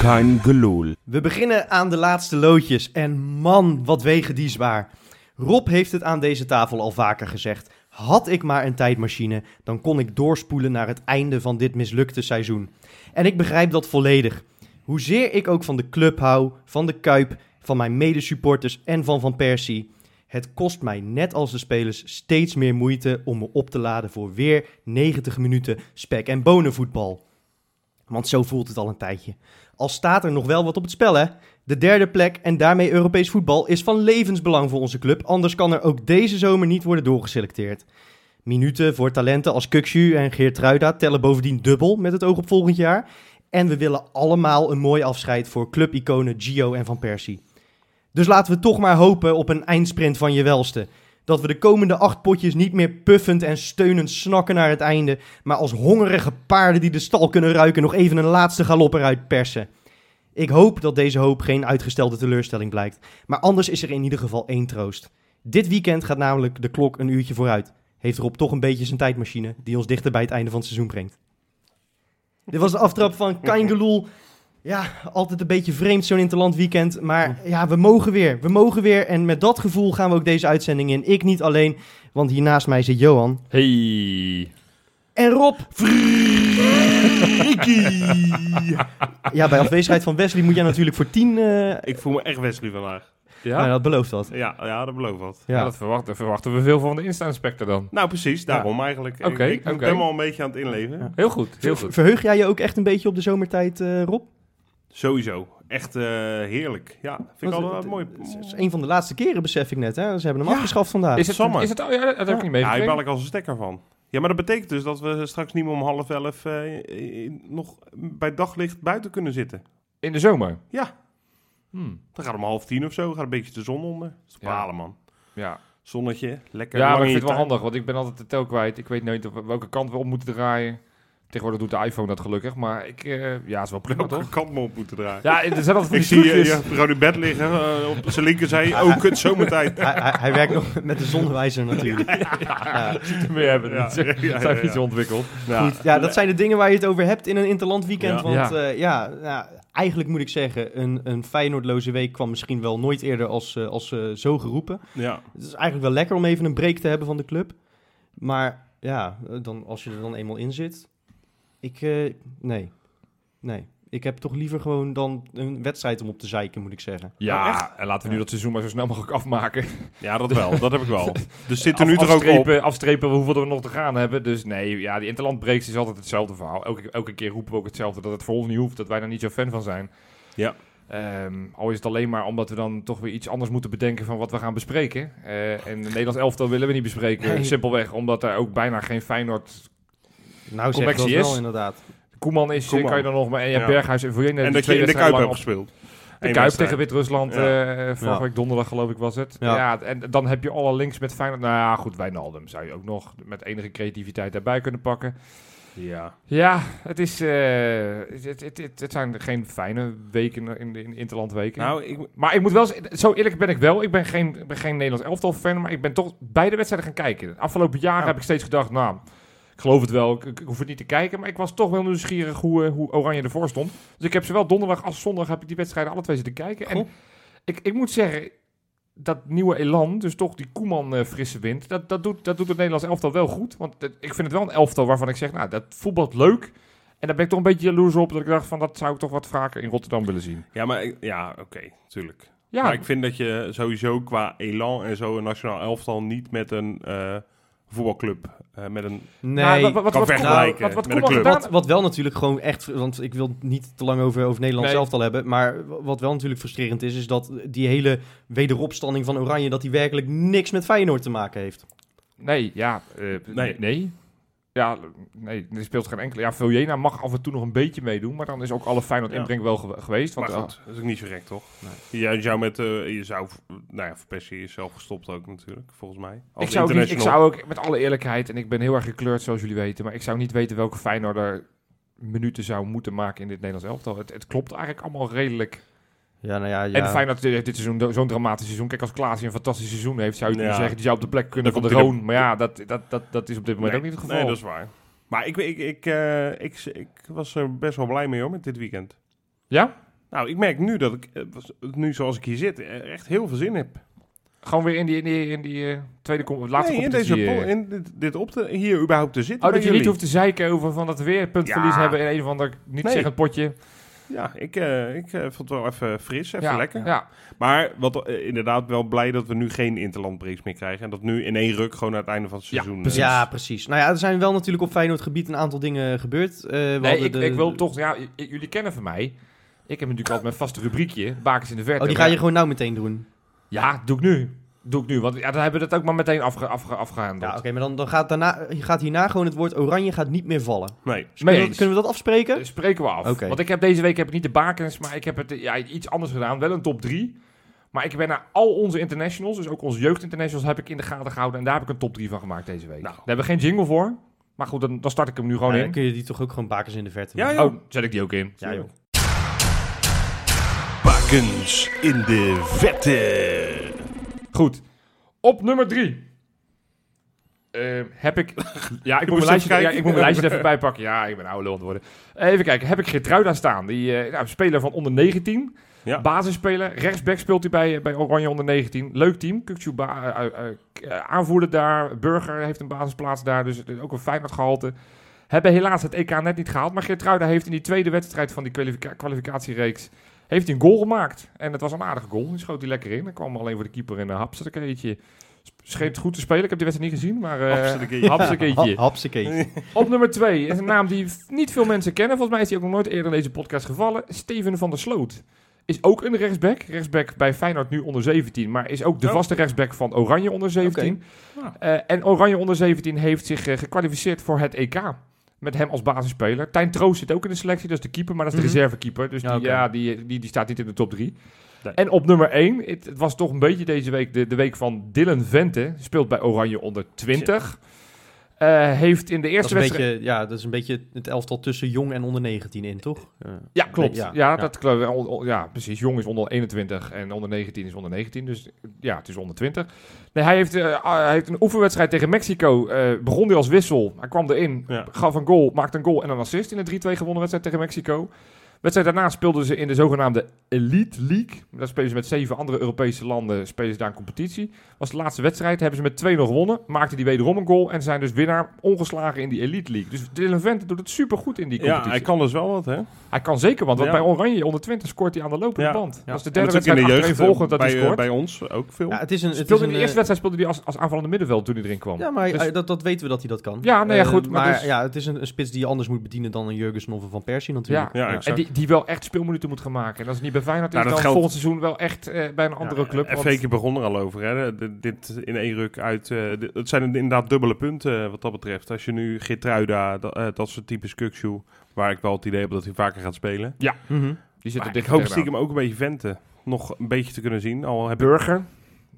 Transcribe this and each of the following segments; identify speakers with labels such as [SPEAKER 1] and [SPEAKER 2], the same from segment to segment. [SPEAKER 1] kein gelul.
[SPEAKER 2] We beginnen aan de laatste loodjes. En man, wat wegen die zwaar. Rob heeft het aan deze tafel al vaker gezegd. Had ik maar een tijdmachine, dan kon ik doorspoelen naar het einde van dit mislukte seizoen. En ik begrijp dat volledig. Hoezeer ik ook van de club hou, van de Kuip, van mijn medesupporters en van Van Persie. Het kost mij net als de spelers steeds meer moeite om me op te laden voor weer 90 minuten spek- en bonenvoetbal. Want zo voelt het al een tijdje. Al staat er nog wel wat op het spel, hè? De derde plek en daarmee Europees voetbal is van levensbelang voor onze club. Anders kan er ook deze zomer niet worden doorgeselecteerd. Minuten voor talenten als Kukshu en Geert Truida tellen bovendien dubbel met het oog op volgend jaar. En we willen allemaal een mooi afscheid voor clubiconen Gio en Van Persie. Dus laten we toch maar hopen op een eindsprint van je welste. Dat we de komende acht potjes niet meer puffend en steunend snakken naar het einde, maar als hongerige paarden die de stal kunnen ruiken nog even een laatste galop eruit persen. Ik hoop dat deze hoop geen uitgestelde teleurstelling blijkt, maar anders is er in ieder geval één troost. Dit weekend gaat namelijk de klok een uurtje vooruit. Heeft Rob toch een beetje zijn tijdmachine die ons dichter bij het einde van het seizoen brengt. Dit was de aftrap van Kaingeloel. Ja, altijd een beetje vreemd zo'n interland weekend. Maar ja, we mogen weer. We mogen weer. En met dat gevoel gaan we ook deze uitzending in. Ik niet alleen, want hier naast mij zit Johan.
[SPEAKER 3] Hey.
[SPEAKER 2] En Rob. Ja, bij afwezigheid van Wesley moet jij natuurlijk voor tien... eh,
[SPEAKER 4] Ik voel me echt Wesley vandaag.
[SPEAKER 3] Ja,
[SPEAKER 2] nou, dat belooft wat.
[SPEAKER 4] Ja, ja dat belooft wat.
[SPEAKER 3] Ja,
[SPEAKER 2] Ja.
[SPEAKER 3] dat verwachten, verwachten we veel van de Insta-inspector dan.
[SPEAKER 4] Nou, precies, daarom eigenlijk.
[SPEAKER 3] Oké,
[SPEAKER 4] ik ik
[SPEAKER 3] oké.
[SPEAKER 4] ben me al een beetje aan het inleven.
[SPEAKER 3] Heel goed, heel goed.
[SPEAKER 2] Verheug jij je ook echt een beetje op de zomertijd, eh, Rob?
[SPEAKER 4] Sowieso. Echt eh, heerlijk. Ja, vind ik
[SPEAKER 2] Want
[SPEAKER 4] altijd wel
[SPEAKER 2] het-
[SPEAKER 4] mooi.
[SPEAKER 2] Het is een van de laatste keren, besef ik net. Hè? Ze hebben hem afgeschaft vandaag.
[SPEAKER 3] Is het,
[SPEAKER 4] Sammer.
[SPEAKER 3] is het, oh ja, dat, dat heb ik niet
[SPEAKER 4] Ja, daar bal
[SPEAKER 3] meegekregen.
[SPEAKER 4] ik als een stekker van. Ja, maar dat betekent dus dat we straks niet meer om half elf eh, eh, nog bij daglicht buiten kunnen zitten.
[SPEAKER 3] In de zomer.
[SPEAKER 4] Ja.
[SPEAKER 3] Hmm,
[SPEAKER 4] Dan gaat om half tien of zo, gaat een beetje de zon onder. Dat is te
[SPEAKER 3] Ja.
[SPEAKER 4] balen, man.
[SPEAKER 3] ja.
[SPEAKER 4] Zonnetje, lekker.
[SPEAKER 3] ja,
[SPEAKER 4] lang
[SPEAKER 3] maar ik
[SPEAKER 4] in
[SPEAKER 3] vind
[SPEAKER 4] je
[SPEAKER 3] het wel
[SPEAKER 4] tuin.
[SPEAKER 3] handig, want ik ben altijd de tel kwijt. Ik weet nooit of- welke kant we op moeten draaien. Tegenwoordig doet de iPhone dat gelukkig, maar ik, eh, ja, is wel prima
[SPEAKER 4] Welke
[SPEAKER 3] toch?
[SPEAKER 4] kant me op moeten draaien.
[SPEAKER 3] Ja, er zijn altijd van
[SPEAKER 4] Ik
[SPEAKER 3] die
[SPEAKER 4] zie je,
[SPEAKER 3] trucjes.
[SPEAKER 4] je gewoon in bed liggen, eh, op zijn linkerzij. Oh, kut, zomertijd.
[SPEAKER 2] Hij, hij, hij werkt nog met de zonnewijzer natuurlijk. Ja.
[SPEAKER 3] te meer hebben.
[SPEAKER 4] Ja,
[SPEAKER 3] Dat zijn
[SPEAKER 4] ja, ja,
[SPEAKER 3] zijn
[SPEAKER 4] ja.
[SPEAKER 3] iets ontwikkeld.
[SPEAKER 4] Ja.
[SPEAKER 2] Goed, ja, dat zijn de dingen waar je het over hebt in een interland weekend.
[SPEAKER 4] Ja.
[SPEAKER 2] Want
[SPEAKER 3] Ja.
[SPEAKER 2] ja, ja, ja, eigenlijk moet ik zeggen, een, een Feyenoordloze week kwam misschien wel nooit eerder als, eh, als eh, zo geroepen.
[SPEAKER 4] Ja.
[SPEAKER 2] Het is eigenlijk wel lekker om even een break te hebben van de club. Maar ja, eh, dan, als je er dan eenmaal in zit, ik, eh, nee, nee. Ik heb toch liever gewoon dan een wedstrijd om op te zeiken, moet ik zeggen.
[SPEAKER 4] Nou,
[SPEAKER 3] Oh, Ja, en laten we nu dat seizoen maar zo snel mogelijk afmaken.
[SPEAKER 4] ja, dat wel. Dat heb ik wel. Dus zit er
[SPEAKER 3] Af-
[SPEAKER 4] nu toch ook op.
[SPEAKER 3] afstrepen, afstrepen hoeveel we nog te gaan hebben. Dus nee, ja, die interlandbreaks is altijd hetzelfde verhaal. Elke, elke keer roepen we ook hetzelfde. Dat het voor ons niet hoeft, dat wij daar niet zo fan van zijn.
[SPEAKER 4] Ja.
[SPEAKER 3] Ehm, al is het alleen maar omdat we dan toch weer iets anders moeten bedenken van wat we gaan bespreken. Eh, en de Nederlands elftal willen we niet bespreken.
[SPEAKER 2] Nee.
[SPEAKER 3] Simpelweg omdat er ook bijna geen Feyenoord...
[SPEAKER 2] Nou zeg dat
[SPEAKER 3] Connectie
[SPEAKER 2] wel
[SPEAKER 3] is.
[SPEAKER 2] inderdaad.
[SPEAKER 3] Koeman is, eh,
[SPEAKER 4] Koeman.
[SPEAKER 3] kan je dan nog maar... En ja,
[SPEAKER 4] Ja.
[SPEAKER 3] Berghuis en Voyenne.
[SPEAKER 4] En dat je in de Kuip hebt gespeeld.
[SPEAKER 3] De
[SPEAKER 4] Eén
[SPEAKER 3] Kuip
[SPEAKER 4] wedstrijd.
[SPEAKER 3] tegen Wit-Rusland,
[SPEAKER 4] Ja.
[SPEAKER 3] eh vorige
[SPEAKER 2] Ja.
[SPEAKER 3] week donderdag geloof ik was het.
[SPEAKER 2] Ja.
[SPEAKER 3] Ja. en dan heb je alle links met Feyenoord. Nou ja, goed, Wijnaldum zou je ook nog met enige creativiteit daarbij kunnen pakken.
[SPEAKER 4] Ja.
[SPEAKER 3] Ja, het, is, eh, het, het, het, het zijn geen fijne weken in de in de interlandweken.
[SPEAKER 4] Nou, ik,
[SPEAKER 3] maar ik moet wel z- zo eerlijk ben ik wel. Ik ben geen, ik ben geen Nederlands elftal fan, maar ik ben toch beide wedstrijden gaan kijken. De afgelopen jaren
[SPEAKER 4] Oh.
[SPEAKER 3] heb ik steeds gedacht, nou, ik geloof het wel, ik, ik- ik hoef het niet te kijken. Maar ik was toch wel nieuwsgierig hoe, eh, hoe Oranje ervoor stond. Dus ik heb zowel donderdag als zondag heb ik die wedstrijden alle twee zitten kijken. En
[SPEAKER 2] Goh.
[SPEAKER 3] ik, ik moet zeggen, dat nieuwe elan, dus toch die Koeman eh, frisse wind, dat, dat, doet, dat doet het Nederlands elftal wel goed. Want het- ik vind het wel een elftal waarvan ik zeg, nou, dat voetbalt leuk. En daar ben ik toch een beetje jaloers op, dat ik dacht van, dat zou ik toch wat vaker in Rotterdam willen zien.
[SPEAKER 4] ja, maar ik- ja, oké, tuurlijk.
[SPEAKER 3] Ja,
[SPEAKER 4] Maar ik vind dat je sowieso qua elan en zo een nationaal elftal niet met een eh, voetbalclub, eh, met een...
[SPEAKER 2] Nee.
[SPEAKER 3] Nou, wat- wat- wat-
[SPEAKER 4] kan
[SPEAKER 3] wat-
[SPEAKER 4] vergelijken
[SPEAKER 3] wat- wat
[SPEAKER 4] met een
[SPEAKER 3] Koeman
[SPEAKER 4] club.
[SPEAKER 3] gedaan-
[SPEAKER 2] Wat, wat wel natuurlijk gewoon echt, want ik wil het niet te lang over, over Nederland
[SPEAKER 3] Nee.
[SPEAKER 2] zelf al hebben, maar w- wat wel natuurlijk frustrerend is, is dat die hele wederopstanding van Oranje, dat die werkelijk niks met Feyenoord te maken heeft.
[SPEAKER 3] Nee, ja. eh, nee. nee. Ja, nee, er speelt geen enkele. Ja, Viljena mag af en toe nog een beetje meedoen, maar dan is ook alle Feyenoord
[SPEAKER 4] Ja.
[SPEAKER 3] inbreng wel ge- geweest. Want,
[SPEAKER 4] Maar
[SPEAKER 3] eh,
[SPEAKER 4] goed, dat is ook niet zo gek, toch? Jij zou met... eh, je zou... Nou ja, Van Persie is zelf gestopt ook natuurlijk, volgens mij. Als
[SPEAKER 3] ik, zou ook niet, ik
[SPEAKER 4] international.
[SPEAKER 3] zou ook, met alle eerlijkheid, en ik ben heel erg gekleurd zoals jullie weten, maar ik zou niet weten welke Feyenoorder minuten zou moeten maken in dit Nederlands elftal. Het, het klopt eigenlijk allemaal redelijk.
[SPEAKER 2] Ja, nou ja, ja.
[SPEAKER 3] En Feyenoord heeft dit seizoen do- zo'n dramatisch seizoen. Kijk, als Klaas een fantastisch seizoen heeft, zou je
[SPEAKER 4] Ja.
[SPEAKER 3] kunnen zeggen, die zou op de plek kunnen
[SPEAKER 4] Dan
[SPEAKER 3] van de
[SPEAKER 4] komt hij
[SPEAKER 3] Roon. Maar ja, dat, dat, dat, dat is op dit moment
[SPEAKER 4] Nee.
[SPEAKER 3] ook niet het
[SPEAKER 4] Nee,
[SPEAKER 3] geval.
[SPEAKER 4] dat is waar. Maar ik, ik, ik, eh, ik, ik was er best wel blij mee hoor, met dit weekend.
[SPEAKER 3] Ja?
[SPEAKER 4] Nou, ik merk nu dat ik, eh, was- nu zoals ik hier zit, eh, echt heel veel zin heb.
[SPEAKER 3] Gewoon weer in die, in die, in die eh, tweede kom, laatste
[SPEAKER 4] nee, in
[SPEAKER 3] competitie,
[SPEAKER 4] deze
[SPEAKER 3] eh.
[SPEAKER 4] pol- in dit, dit op te, hier überhaupt te zitten. bij
[SPEAKER 3] Oh, dat je niet
[SPEAKER 4] jullie.
[SPEAKER 3] hoeft te zeiken over van dat we weer puntverlies
[SPEAKER 4] Ja.
[SPEAKER 3] hebben in een of ander niet zeggend potje.
[SPEAKER 4] Ja, ik, eh, ik eh, vond het wel even fris, even
[SPEAKER 3] ja.
[SPEAKER 4] lekker.
[SPEAKER 3] Ja.
[SPEAKER 4] Maar wat, eh, inderdaad wel blij dat we nu geen interlandbreaks meer krijgen. En dat nu in één ruk gewoon aan het einde van het
[SPEAKER 3] Ja,
[SPEAKER 4] seizoen... eh,
[SPEAKER 3] precies.
[SPEAKER 2] Ja, precies. Nou ja, er zijn wel natuurlijk op Feyenoord gebied een aantal dingen gebeurd. Eh, we
[SPEAKER 3] Nee,
[SPEAKER 2] hadden
[SPEAKER 3] ik,
[SPEAKER 2] de-
[SPEAKER 3] ik wil toch, ja, j- jullie kennen van mij. Ik heb natuurlijk altijd mijn vaste rubriekje, Bakens in de Verte.
[SPEAKER 2] Oh, die ga
[SPEAKER 3] Maar-
[SPEAKER 2] je gewoon nou meteen doen.
[SPEAKER 3] Ja, doe ik nu. Doe ik nu, want ja, dan hebben we dat ook maar meteen afge, afge,
[SPEAKER 2] Ja,
[SPEAKER 3] afgehandeld.
[SPEAKER 2] oké, maar dan, dan gaat, daarna, je gaat hierna gewoon het woord oranje gaat niet meer vallen.
[SPEAKER 4] nee.
[SPEAKER 2] Dus kunnen,
[SPEAKER 3] Mee
[SPEAKER 2] we,
[SPEAKER 3] eens.
[SPEAKER 2] kunnen we dat afspreken?
[SPEAKER 3] Eh, Spreken we af.
[SPEAKER 2] Oké.
[SPEAKER 3] Want ik heb deze week heb ik niet de bakens, maar ik heb het, eh, ja, iets anders gedaan. Wel een top 3. Maar ik ben naar al onze internationals, dus ook onze jeugdinternationals, heb ik in de gaten gehouden. En daar heb ik een top 3 van gemaakt deze week.
[SPEAKER 4] Nou.
[SPEAKER 3] Daar hebben we geen jingle voor. Maar goed, dan, dan start ik hem nu gewoon
[SPEAKER 2] Ja,
[SPEAKER 3] in.
[SPEAKER 2] dan kun je die toch ook gewoon bakens in de verte
[SPEAKER 4] Ja,
[SPEAKER 2] maken.
[SPEAKER 4] joh.
[SPEAKER 3] Oh, zet ik die ook in.
[SPEAKER 2] Ja, joh.
[SPEAKER 4] Bakens in de vette.
[SPEAKER 3] Goed. Op nummer 3. Ehm, heb ik. Ja, ik
[SPEAKER 4] moest
[SPEAKER 3] moet, mijn lijstje,
[SPEAKER 4] even
[SPEAKER 3] ja,
[SPEAKER 4] kijken.
[SPEAKER 3] ik moet mijn lijstje er even bij pakken. Ja, ik ben oude lul aan het worden. Even kijken. Heb ik Gertruida staan? Die eh, nou, speler van onder 19.
[SPEAKER 4] Ja.
[SPEAKER 3] Basisspeler. Rechtsback speelt hij bij, bij Oranje onder 19. Leuk team. Kukçu ba- eh, eh, eh, aanvoerder daar. Burger heeft een basisplaats daar. Dus het is ook een Feyenoord gehalte. Hebben helaas het EK net niet gehaald. Maar Gertruida heeft in die tweede wedstrijd van die kwalifica- kwalificatiereeks heeft hij een goal gemaakt. En het was een aardige goal. Die schoot hij lekker in. Dan kwam alleen voor de keeper in een hapstekeetje. Scheen het goed te spelen. Ik heb die wedstrijd niet gezien, maar eh
[SPEAKER 4] Hapstekeetje.
[SPEAKER 2] Ha-
[SPEAKER 3] hapstekeetje.
[SPEAKER 2] hapsakeetje.
[SPEAKER 3] Op nummer twee is een naam die f- niet veel mensen kennen. Volgens mij is hij ook nog nooit eerder in deze podcast gevallen. Steven van der Sloot. Is ook een rechtsback. Rechtsback bij Feyenoord nu onder 17. Maar is ook de
[SPEAKER 4] Oh.
[SPEAKER 3] vaste rechtsback van Oranje onder 17.
[SPEAKER 2] Ah.
[SPEAKER 4] Ja.
[SPEAKER 3] Eh, en Oranje onder 17 heeft zich eh, gekwalificeerd voor het EK. Met hem als basisspeler. Tijn Troost zit ook in de selectie. Dat is de keeper, maar dat is de
[SPEAKER 2] Mhm.
[SPEAKER 3] reservekeeper. Dus die,
[SPEAKER 2] Ja, oké.
[SPEAKER 3] ja, die, die, die staat niet in de top 3.
[SPEAKER 4] Nee.
[SPEAKER 3] En op nummer 1, het, het was toch een beetje deze week de, de week van Dylan Vente. Speelt bij Oranje onder 20. Eh, heeft in de
[SPEAKER 2] Dat is
[SPEAKER 3] eerste
[SPEAKER 2] een
[SPEAKER 3] wedstrijd...
[SPEAKER 2] beetje, ja, dat is een beetje het elftal tussen jong en onder 19 in, toch? Ja.
[SPEAKER 3] Ja, klopt.
[SPEAKER 2] Ja,
[SPEAKER 3] Ja,
[SPEAKER 2] ja.
[SPEAKER 3] dat klopt. Ja, on- on- Ja, precies. Jong is onder 21 en onder 19 is onder 19. Dus ja, het is onder 20. Nee, hij heeft, eh, ah, hij heeft een oefenwedstrijd tegen Mexico. eh, begon hij als wissel. Hij kwam erin,
[SPEAKER 4] Ja.
[SPEAKER 3] gaf een goal, maakte een goal en een assist in de 3-2 gewonnen wedstrijd tegen Mexico. Wedstrijd daarna speelden ze in de zogenaamde Elite League. Daar spelen ze met zeven andere Europese landen spelen ze daar een competitie. Was de laatste wedstrijd, hebben ze met 2-0 gewonnen. Maakte die wederom een goal en zijn dus winnaar ongeslagen in die Elite League. Dus Dylan Vente doet het supergoed in die competitie.
[SPEAKER 4] Ja, hij kan dus wel wat, hè?
[SPEAKER 3] Hij kan zeker wat, want
[SPEAKER 4] Ja.
[SPEAKER 3] bij Oranje onder 20 scoort hij aan de lopende
[SPEAKER 4] Ja.
[SPEAKER 3] band. Dat is de
[SPEAKER 4] En
[SPEAKER 3] derde
[SPEAKER 4] dat is ook
[SPEAKER 3] wedstrijd
[SPEAKER 4] in de jeugd
[SPEAKER 3] achtereen volgend
[SPEAKER 4] eh,
[SPEAKER 3] dat hij
[SPEAKER 4] bij, eh,
[SPEAKER 3] scoort.
[SPEAKER 4] bij ons ook veel.
[SPEAKER 2] Ja, het is een... Het is
[SPEAKER 3] speelde
[SPEAKER 2] een
[SPEAKER 3] in de
[SPEAKER 2] eh,
[SPEAKER 3] eerste wedstrijd speelde hij als, als aanvallende middenveld toen hij erin kwam.
[SPEAKER 2] Ja, maar
[SPEAKER 3] Dus-
[SPEAKER 2] eh, dat, dat weten we dat hij dat kan.
[SPEAKER 3] Ja, nou ja,
[SPEAKER 2] Eh,
[SPEAKER 3] goed, maar
[SPEAKER 2] maar
[SPEAKER 3] dus-
[SPEAKER 2] ja, het is een, een spits die je anders moet bedienen dan een Jurgensen of een Van Persie natuurlijk.
[SPEAKER 4] Ja,
[SPEAKER 3] en
[SPEAKER 4] exact.
[SPEAKER 3] die, die wel echt speelminuten moet gaan maken. En als het niet bij Feyenoord
[SPEAKER 4] Nou,
[SPEAKER 3] is,
[SPEAKER 4] dat
[SPEAKER 3] dan
[SPEAKER 4] geldt-
[SPEAKER 3] volgend seizoen wel echt eh, bij een andere club.
[SPEAKER 4] En
[SPEAKER 3] want-
[SPEAKER 4] Freekje begon er al over. Hè. D- dit in één ruk uit. eh, dit- het zijn inderdaad dubbele punten eh, wat dat betreft. Als je nu Gitruida, dat, eh, dat soort types Kukshoe, waar ik wel het idee heb dat hij vaker gaat spelen.
[SPEAKER 2] Mhm.
[SPEAKER 3] die zit
[SPEAKER 4] Maar
[SPEAKER 3] er
[SPEAKER 4] ik hoop
[SPEAKER 3] dicht tegenaan.
[SPEAKER 4] stiekem ook een beetje venten. Nog een beetje te kunnen zien. Al heb ik-
[SPEAKER 3] Burger,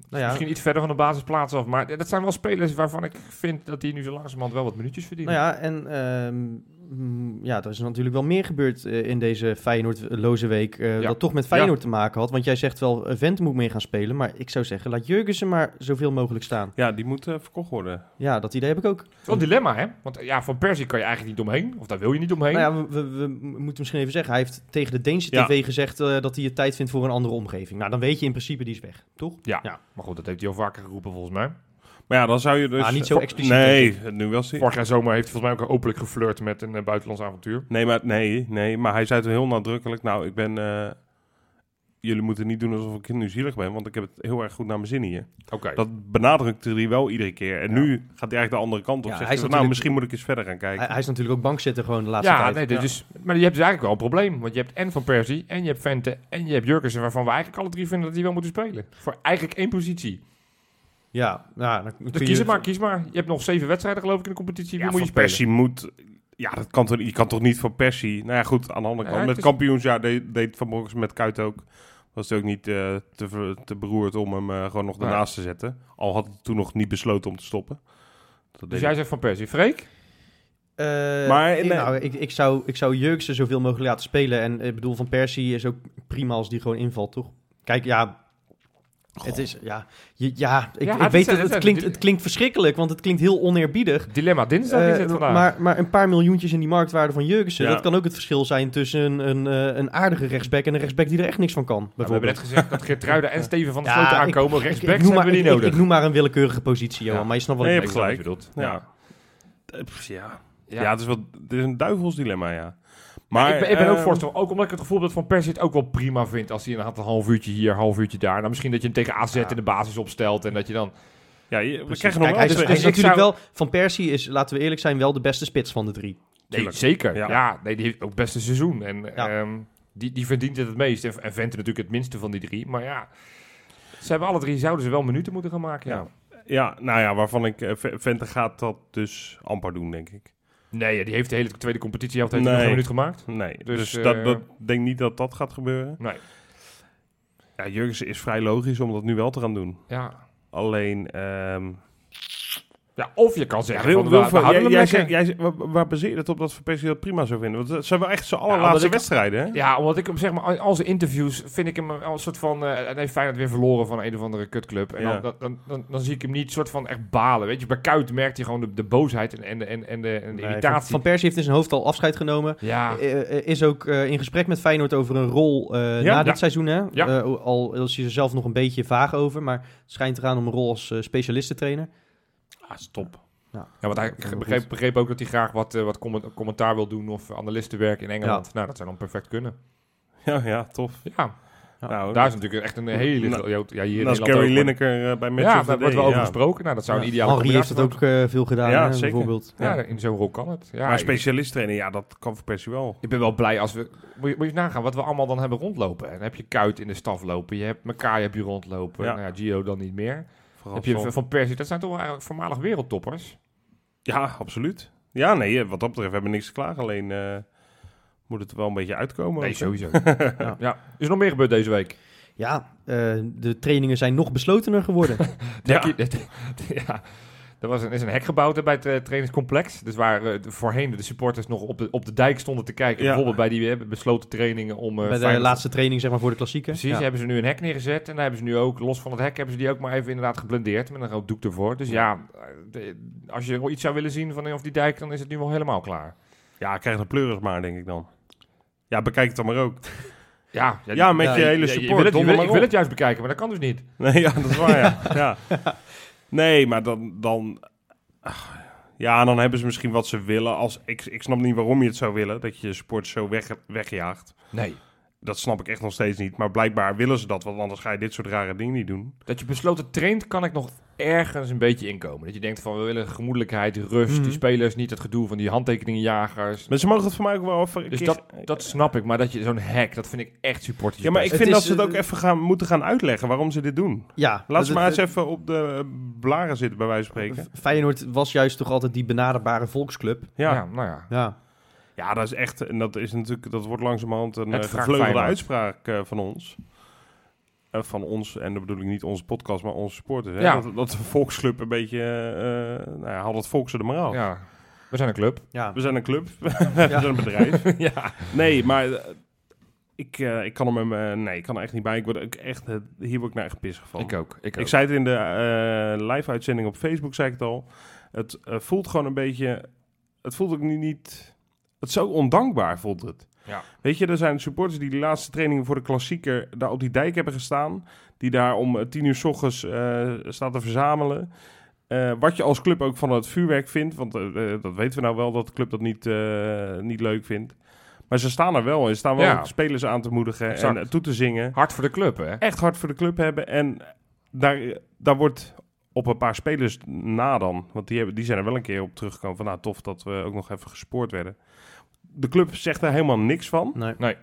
[SPEAKER 2] Nou ja,
[SPEAKER 3] misschien iets verder van de basisplaats af. Maar dat zijn wel spelers waarvan ik vind dat die nu zo langzamerhand wel wat minuutjes verdienen.
[SPEAKER 2] Nou ja, en ehm, mm, ja, er is natuurlijk wel meer gebeurd eh, in deze Feyenoord-loze week. eh,
[SPEAKER 3] Ja.
[SPEAKER 2] Dat toch met Feyenoord te maken had. Want jij zegt wel, eh, Vent moet meer gaan spelen. Maar ik zou zeggen, laat Jurgensen maar zoveel mogelijk staan.
[SPEAKER 4] Ja, die moet eh, verkocht worden.
[SPEAKER 2] Ja, dat idee heb ik ook.
[SPEAKER 3] Het is wel een dilemma, hè? Want eh, ja, van Persie kan je eigenlijk niet omheen. Of daar wil je niet omheen.
[SPEAKER 2] Nou ja, we, we- we moeten misschien even zeggen. Hij heeft tegen de Deense
[SPEAKER 4] Ja.
[SPEAKER 2] TV gezegd eh, dat hij het tijd vindt voor een andere omgeving. Nou, dan weet je in principe die is weg, toch?
[SPEAKER 3] Maar goed, dat heeft hij al vaker geroepen volgens mij.
[SPEAKER 4] Maar ja, dan zou je dus...
[SPEAKER 2] Ah, niet zo
[SPEAKER 4] voor-
[SPEAKER 2] expliciet,
[SPEAKER 4] Nee, nu was hij...
[SPEAKER 3] Vorig jaar zomer heeft hij volgens mij ook openlijk geflirt met een eh, buitenlands avontuur.
[SPEAKER 4] Nee, maar, nee, nee, maar hij zei toen heel nadrukkelijk... Nou, ik ben... eh, jullie moeten niet doen alsof ik nu zielig ben, want ik heb het heel erg goed naar mijn zin hier.
[SPEAKER 3] Oké.
[SPEAKER 4] Dat benadrukte hij wel iedere keer. En
[SPEAKER 3] Ja.
[SPEAKER 4] nu gaat hij eigenlijk de andere kant op.
[SPEAKER 2] Ja,
[SPEAKER 4] Zegt
[SPEAKER 2] hij is
[SPEAKER 4] hij, nou,
[SPEAKER 2] natuurlijk-
[SPEAKER 4] misschien moet ik eens verder gaan kijken.
[SPEAKER 2] Hij, hij is natuurlijk ook bankzitter gewoon de laatste
[SPEAKER 3] Ja,
[SPEAKER 2] tijd.
[SPEAKER 3] nee, dus, maar je hebt dus eigenlijk wel een probleem. Want je hebt en Van Persie, en je hebt Vente, en je hebt Jurkensen... waarvan we eigenlijk alle drie vinden dat die wel moeten spelen. Voor eigenlijk één positie.
[SPEAKER 2] Ja, nou, dan kun
[SPEAKER 3] Dus
[SPEAKER 2] je-
[SPEAKER 3] kies het maar, kies maar. Je hebt nog zeven wedstrijden geloof ik in de competitie. Wie
[SPEAKER 4] ja,
[SPEAKER 3] moet je
[SPEAKER 4] Van
[SPEAKER 3] spelen?
[SPEAKER 4] Persie moet... Ja, dat kan toch, je kan toch niet van Persie... Nou ja, goed, aan de andere
[SPEAKER 3] Ja,
[SPEAKER 4] kant.
[SPEAKER 3] het
[SPEAKER 4] met
[SPEAKER 3] is-
[SPEAKER 4] kampioensjaar deed, deed Van Bronckhorst met Kuit ook. Was hij ook niet eh, te, ver- te beroerd om hem eh, gewoon nog
[SPEAKER 3] Nee.
[SPEAKER 4] daarnaast te zetten. Al had hij toen nog niet besloten om te stoppen. Dat
[SPEAKER 3] Dus
[SPEAKER 4] deed
[SPEAKER 3] jij zegt Van Persie. Freek?
[SPEAKER 2] Eh,
[SPEAKER 4] Maar,
[SPEAKER 2] ik,
[SPEAKER 4] nee.
[SPEAKER 2] nou, ik, ik zou, ik zou Jurksen zoveel mogelijk laten spelen. En ik bedoel, Van Persie is ook prima als die gewoon invalt, toch? Kijk, ja, Het is, ja, je- ja ik,
[SPEAKER 3] Ja,
[SPEAKER 2] ik
[SPEAKER 3] het
[SPEAKER 2] weet
[SPEAKER 3] is-
[SPEAKER 2] het,
[SPEAKER 3] het
[SPEAKER 2] het,
[SPEAKER 3] is-
[SPEAKER 2] klinkt, het klinkt verschrikkelijk, want het klinkt heel oneerbiedig.
[SPEAKER 3] Dilemma dinsdag is
[SPEAKER 2] Eh,
[SPEAKER 3] het vandaag. Nou,
[SPEAKER 2] maar, maar een paar miljoentjes in die marktwaarde van Jurgensen,
[SPEAKER 4] Ja.
[SPEAKER 2] dat kan ook het verschil zijn tussen een, een, eh, een aardige rechtsback en een rechtsback die er echt niks van kan.
[SPEAKER 3] Nou, we hebben
[SPEAKER 2] bijvoorbeeld.
[SPEAKER 3] net gezegd dat Geertruida en Steven van der
[SPEAKER 2] Ja,
[SPEAKER 3] Sloten
[SPEAKER 2] ik-
[SPEAKER 3] aankomen.
[SPEAKER 2] Ik-
[SPEAKER 3] Rechtsbacks
[SPEAKER 2] ik, noem
[SPEAKER 3] hebben
[SPEAKER 2] maar,
[SPEAKER 3] we niet
[SPEAKER 2] ik-
[SPEAKER 3] nodig.
[SPEAKER 2] Ik, ik noem maar een willekeurige positie, Johan,
[SPEAKER 3] Ja.
[SPEAKER 2] maar je snapt wat
[SPEAKER 4] Nee,
[SPEAKER 2] ik
[SPEAKER 4] je hebt
[SPEAKER 2] bedoel.
[SPEAKER 4] gelijk.
[SPEAKER 3] bedoelt.
[SPEAKER 4] Ja.
[SPEAKER 3] Ja.
[SPEAKER 4] Eh, pff, Ja.
[SPEAKER 3] Ja.
[SPEAKER 4] Ja, het is wel het is een duivels dilemma, ja. Maar,
[SPEAKER 3] ik ben, ik ben ook
[SPEAKER 4] ehm,
[SPEAKER 3] voorstander. Ook omdat ik het gevoel heb dat Van Persie het ook wel prima vindt. Als hij een half uurtje hier, half uurtje daar. Nou, misschien dat je hem tegen AZ in de basis opstelt. En dat je dan...
[SPEAKER 4] Ja, je, we
[SPEAKER 2] Precies.
[SPEAKER 4] krijgen nog
[SPEAKER 2] Kijk,
[SPEAKER 4] wel
[SPEAKER 2] hij is,
[SPEAKER 4] twee-
[SPEAKER 2] hij is
[SPEAKER 3] Ik- Dus ik
[SPEAKER 2] natuurlijk
[SPEAKER 3] zou-
[SPEAKER 2] wel... Van Persie is, laten we eerlijk zijn, wel de beste spits van de drie.
[SPEAKER 3] Nee,
[SPEAKER 4] Tuurlijk.
[SPEAKER 3] zeker. Ja.
[SPEAKER 4] Ja.
[SPEAKER 3] nee, die heeft ook best een seizoen. En
[SPEAKER 2] Ja.
[SPEAKER 3] ehm, die, die verdient het het meest. En, en Vente natuurlijk het minste van die drie. Maar ja, ze hebben alle drie, zouden ze wel minuten moeten gaan maken. Ja.
[SPEAKER 4] Ja. Ja, nou ja, waarvan ik... eh, V- Vente gaat dat dus amper doen, denk ik.
[SPEAKER 3] Nee, ja, die heeft de hele tweede competitie heeft hij
[SPEAKER 4] Nee.
[SPEAKER 3] nog geen minuut gemaakt.
[SPEAKER 4] Nee,
[SPEAKER 3] Dus,
[SPEAKER 4] dus,
[SPEAKER 3] eh,
[SPEAKER 4] dat, dat denk niet dat dat gaat gebeuren.
[SPEAKER 3] Nee.
[SPEAKER 4] Ja, Jurgensen is vrij logisch om dat nu wel te gaan doen.
[SPEAKER 3] Ja.
[SPEAKER 4] Alleen... ehm
[SPEAKER 3] ja of je kan
[SPEAKER 4] ja,
[SPEAKER 3] zeggen,
[SPEAKER 4] Wil-
[SPEAKER 3] van, we, we
[SPEAKER 4] Wilfred,
[SPEAKER 3] houden
[SPEAKER 4] jij,
[SPEAKER 3] hem
[SPEAKER 4] jij,
[SPEAKER 3] lekker.
[SPEAKER 4] zegt- jij zegt- waar, waar baseer je dat op dat Van Persie dat prima zou vinden? Want dat zijn wel echt zijn
[SPEAKER 3] omdat
[SPEAKER 4] allerlaatste
[SPEAKER 3] ik-
[SPEAKER 4] wedstrijden, hè?
[SPEAKER 3] Ja, omdat ik hem zeg maar, al zijn interviews vind ik hem al een soort van. eh hij heeft Feyenoord weer verloren van een of andere kutclub. En
[SPEAKER 4] Ja.
[SPEAKER 3] dan, dan, dan, dan, dan zie ik hem niet soort van echt balen. Weet je, bij Kuit merkt hij gewoon de, de boosheid en, en, de- en, en de, en de
[SPEAKER 2] Nee, van,
[SPEAKER 3] irritatie.
[SPEAKER 2] Eh, van Persie heeft in zijn hoofd al afscheid genomen.
[SPEAKER 3] ja,
[SPEAKER 2] Eh, eh, is ook eh, in gesprek met Feyenoord over een rol eh,
[SPEAKER 3] Ja,
[SPEAKER 2] na
[SPEAKER 3] ja.
[SPEAKER 2] dit seizoen. Hè?
[SPEAKER 3] Ja.
[SPEAKER 2] Eh, al is hij er zelf nog een beetje vaag over, maar het schijnt eraan om een rol als eh, specialistentrainer.
[SPEAKER 4] Ah, stop.
[SPEAKER 3] ja, want hij
[SPEAKER 2] Heel
[SPEAKER 3] begreep,
[SPEAKER 2] goed.
[SPEAKER 3] begreep ook dat hij graag wat, eh, wat comment- commentaar wil doen of analistenwerk in Engeland. Nou, dat zou dan perfect kunnen.
[SPEAKER 4] Ja, ja, tof.
[SPEAKER 3] Ja,
[SPEAKER 2] Ja,
[SPEAKER 4] nou,
[SPEAKER 3] daar is natuurlijk echt een hele.
[SPEAKER 4] Nou,
[SPEAKER 3] ja, hier in
[SPEAKER 4] en als
[SPEAKER 3] Nederland ook,
[SPEAKER 4] Gary
[SPEAKER 3] maar-
[SPEAKER 4] Lineker eh, bij Manchester
[SPEAKER 3] Ja, daar wordt wel
[SPEAKER 4] ja.
[SPEAKER 3] over gesproken. Nou, dat zou een
[SPEAKER 2] Ja,
[SPEAKER 3] ideale
[SPEAKER 2] Henry heeft
[SPEAKER 3] combinatie
[SPEAKER 2] het ook eh, veel gedaan,
[SPEAKER 4] Ja,
[SPEAKER 2] hè,
[SPEAKER 4] zeker.
[SPEAKER 2] bijvoorbeeld.
[SPEAKER 3] worden. Ja, in zo'n rol kan het. Ja,
[SPEAKER 4] Maar
[SPEAKER 3] ik-
[SPEAKER 4] specialist trainen, ja, dat kan voor Persie wel.
[SPEAKER 3] Ik ben wel blij als we... Moet je, moet je nagaan wat we allemaal dan hebben rondlopen. En dan heb je Kuit in de staf lopen. Je hebt Makai heb je rondlopen.
[SPEAKER 4] Ja.
[SPEAKER 3] Nou ja, Gio dan niet meer.
[SPEAKER 4] Vooral
[SPEAKER 3] heb je
[SPEAKER 4] zo-
[SPEAKER 3] Van- Van Persie. Dat zijn toch wel eigenlijk voormalig wereldtoppers.
[SPEAKER 4] Ja, absoluut. Ja, nee, eh, wat dat betreft hebben we niks te klagen. Alleen eh, moet het er wel een beetje uitkomen.
[SPEAKER 3] Nee,
[SPEAKER 4] Ook,
[SPEAKER 3] sowieso. ja. Is er nog meer gebeurd deze week?
[SPEAKER 2] Ja, eh, de trainingen zijn nog beslotener geworden.
[SPEAKER 3] Ja. ja. Er was een, is een hek gebouwd bij het eh, trainingscomplex. Dus waar eh, de- voorheen de supporters nog op de, op de dijk stonden te kijken.
[SPEAKER 4] Ja.
[SPEAKER 3] Bijvoorbeeld bij die eh, besloten trainingen om... eh,
[SPEAKER 2] bij de
[SPEAKER 3] Feyenoord-
[SPEAKER 2] laatste training, zeg maar, voor de klassieker.
[SPEAKER 3] Precies,
[SPEAKER 2] Ja.
[SPEAKER 3] hebben ze nu een hek neergezet. En daar hebben ze nu ook, los van het hek, hebben ze die ook maar even inderdaad geblendeerd. Met een rood doek ervoor. Dus ja, eh, de- als je iets zou willen zien van eh, of die dijk, dan is het nu wel helemaal klaar.
[SPEAKER 4] Ja, krijg de pleuris maar, denk ik dan. Ja, bekijk het dan maar ook.
[SPEAKER 3] Ja,
[SPEAKER 4] Ja, met
[SPEAKER 2] ja,
[SPEAKER 4] je
[SPEAKER 2] je-
[SPEAKER 4] hele
[SPEAKER 3] je- je
[SPEAKER 4] support.
[SPEAKER 3] wil het,
[SPEAKER 4] donder
[SPEAKER 3] je wil,
[SPEAKER 4] maar
[SPEAKER 3] ik wil
[SPEAKER 4] op.
[SPEAKER 3] het juist bekijken, maar dat kan dus niet.
[SPEAKER 4] Nee, ja, dat is waar, ja. ja. Nee, maar dan... dan ach, ja, dan hebben ze misschien wat ze willen. Als, ik, ik snap niet waarom je het zou willen, dat je je sport zo weg, wegjaagt.
[SPEAKER 3] Nee.
[SPEAKER 4] Dat snap ik echt nog steeds niet. Maar blijkbaar willen ze dat, want anders ga je dit soort rare dingen niet doen.
[SPEAKER 3] Dat je besloten traint, kan ik nog ergens een beetje inkomen. Dat je denkt van, we willen gemoedelijkheid, rust,
[SPEAKER 2] Mhm.
[SPEAKER 3] die spelers niet, het gedoe van die handtekeningenjagers.
[SPEAKER 4] Maar ze mogen het voor mij ook wel even... een
[SPEAKER 3] Dus
[SPEAKER 4] keer-
[SPEAKER 3] dat, dat snap ik, maar dat je zo'n hek, dat vind ik echt supporters.
[SPEAKER 4] Ja, maar ik
[SPEAKER 2] Het
[SPEAKER 4] vind
[SPEAKER 2] is,
[SPEAKER 4] dat ze het
[SPEAKER 2] eh,
[SPEAKER 4] ook even gaan, moeten gaan uitleggen waarom ze dit doen.
[SPEAKER 2] Ja,
[SPEAKER 4] Laat ze
[SPEAKER 2] dat-
[SPEAKER 4] maar eens
[SPEAKER 2] dat-
[SPEAKER 4] even op de eh, blaren zitten, bij wijze van spreken.
[SPEAKER 2] Feyenoord was juist toch altijd die benaderbare volksclub.
[SPEAKER 3] ja.
[SPEAKER 4] Ja.
[SPEAKER 3] nou ja.
[SPEAKER 2] Ja,
[SPEAKER 4] ja, dat is echt... En dat, is natuurlijk, dat wordt langzamerhand een
[SPEAKER 3] Het
[SPEAKER 4] eh,
[SPEAKER 3] vraagt
[SPEAKER 4] gevleugelde
[SPEAKER 3] Feyenoord.
[SPEAKER 4] uitspraak eh, van ons. Eh, van ons, en dat bedoel ik niet onze podcast, maar onze supporters. Hè?
[SPEAKER 3] Ja.
[SPEAKER 4] Dat, dat de volksclub een beetje... eh, eh, nou ja, haal het volk ze er maar af.
[SPEAKER 3] ja. We zijn een club.
[SPEAKER 2] ja.
[SPEAKER 4] We zijn een club. We zijn een bedrijf.
[SPEAKER 3] ja.
[SPEAKER 4] Nee, maar... eh, ik, eh, ik kan hem... eh, nee, ik kan er echt niet bij. Ik word ook echt, eh, hier word ik nou echt pissig van.
[SPEAKER 3] Ik ook, ik ook.
[SPEAKER 4] Ik zei het in de eh, live-uitzending op Facebook, zei ik het al. Het eh, voelt gewoon een beetje... Het voelt ook nu niet... Het is zo ondankbaar, voelt het.
[SPEAKER 3] Ja.
[SPEAKER 4] Weet je, er zijn supporters die de laatste trainingen voor de klassieker daar op die dijk hebben gestaan. Die daar om eh, tien uur s ochtends eh staan te verzamelen. Eh, wat je als club ook van het vuurwerk vindt. Want eh, eh, dat weten we nou wel, dat de club dat niet, eh, niet leuk vindt. Maar ze staan er wel en ze staan wel
[SPEAKER 3] Ja.
[SPEAKER 4] spelers aan te moedigen
[SPEAKER 3] Exact.
[SPEAKER 4] en eh, toe te zingen
[SPEAKER 3] Hard voor de club, hè?
[SPEAKER 4] echt hard voor de club hebben. En daar, daar wordt op een paar spelers na dan. Want die, hebben, die zijn er wel een keer op teruggekomen. Van nou, tof dat we ook nog even gespoord werden. De club zegt daar helemaal niks van.
[SPEAKER 2] Nee.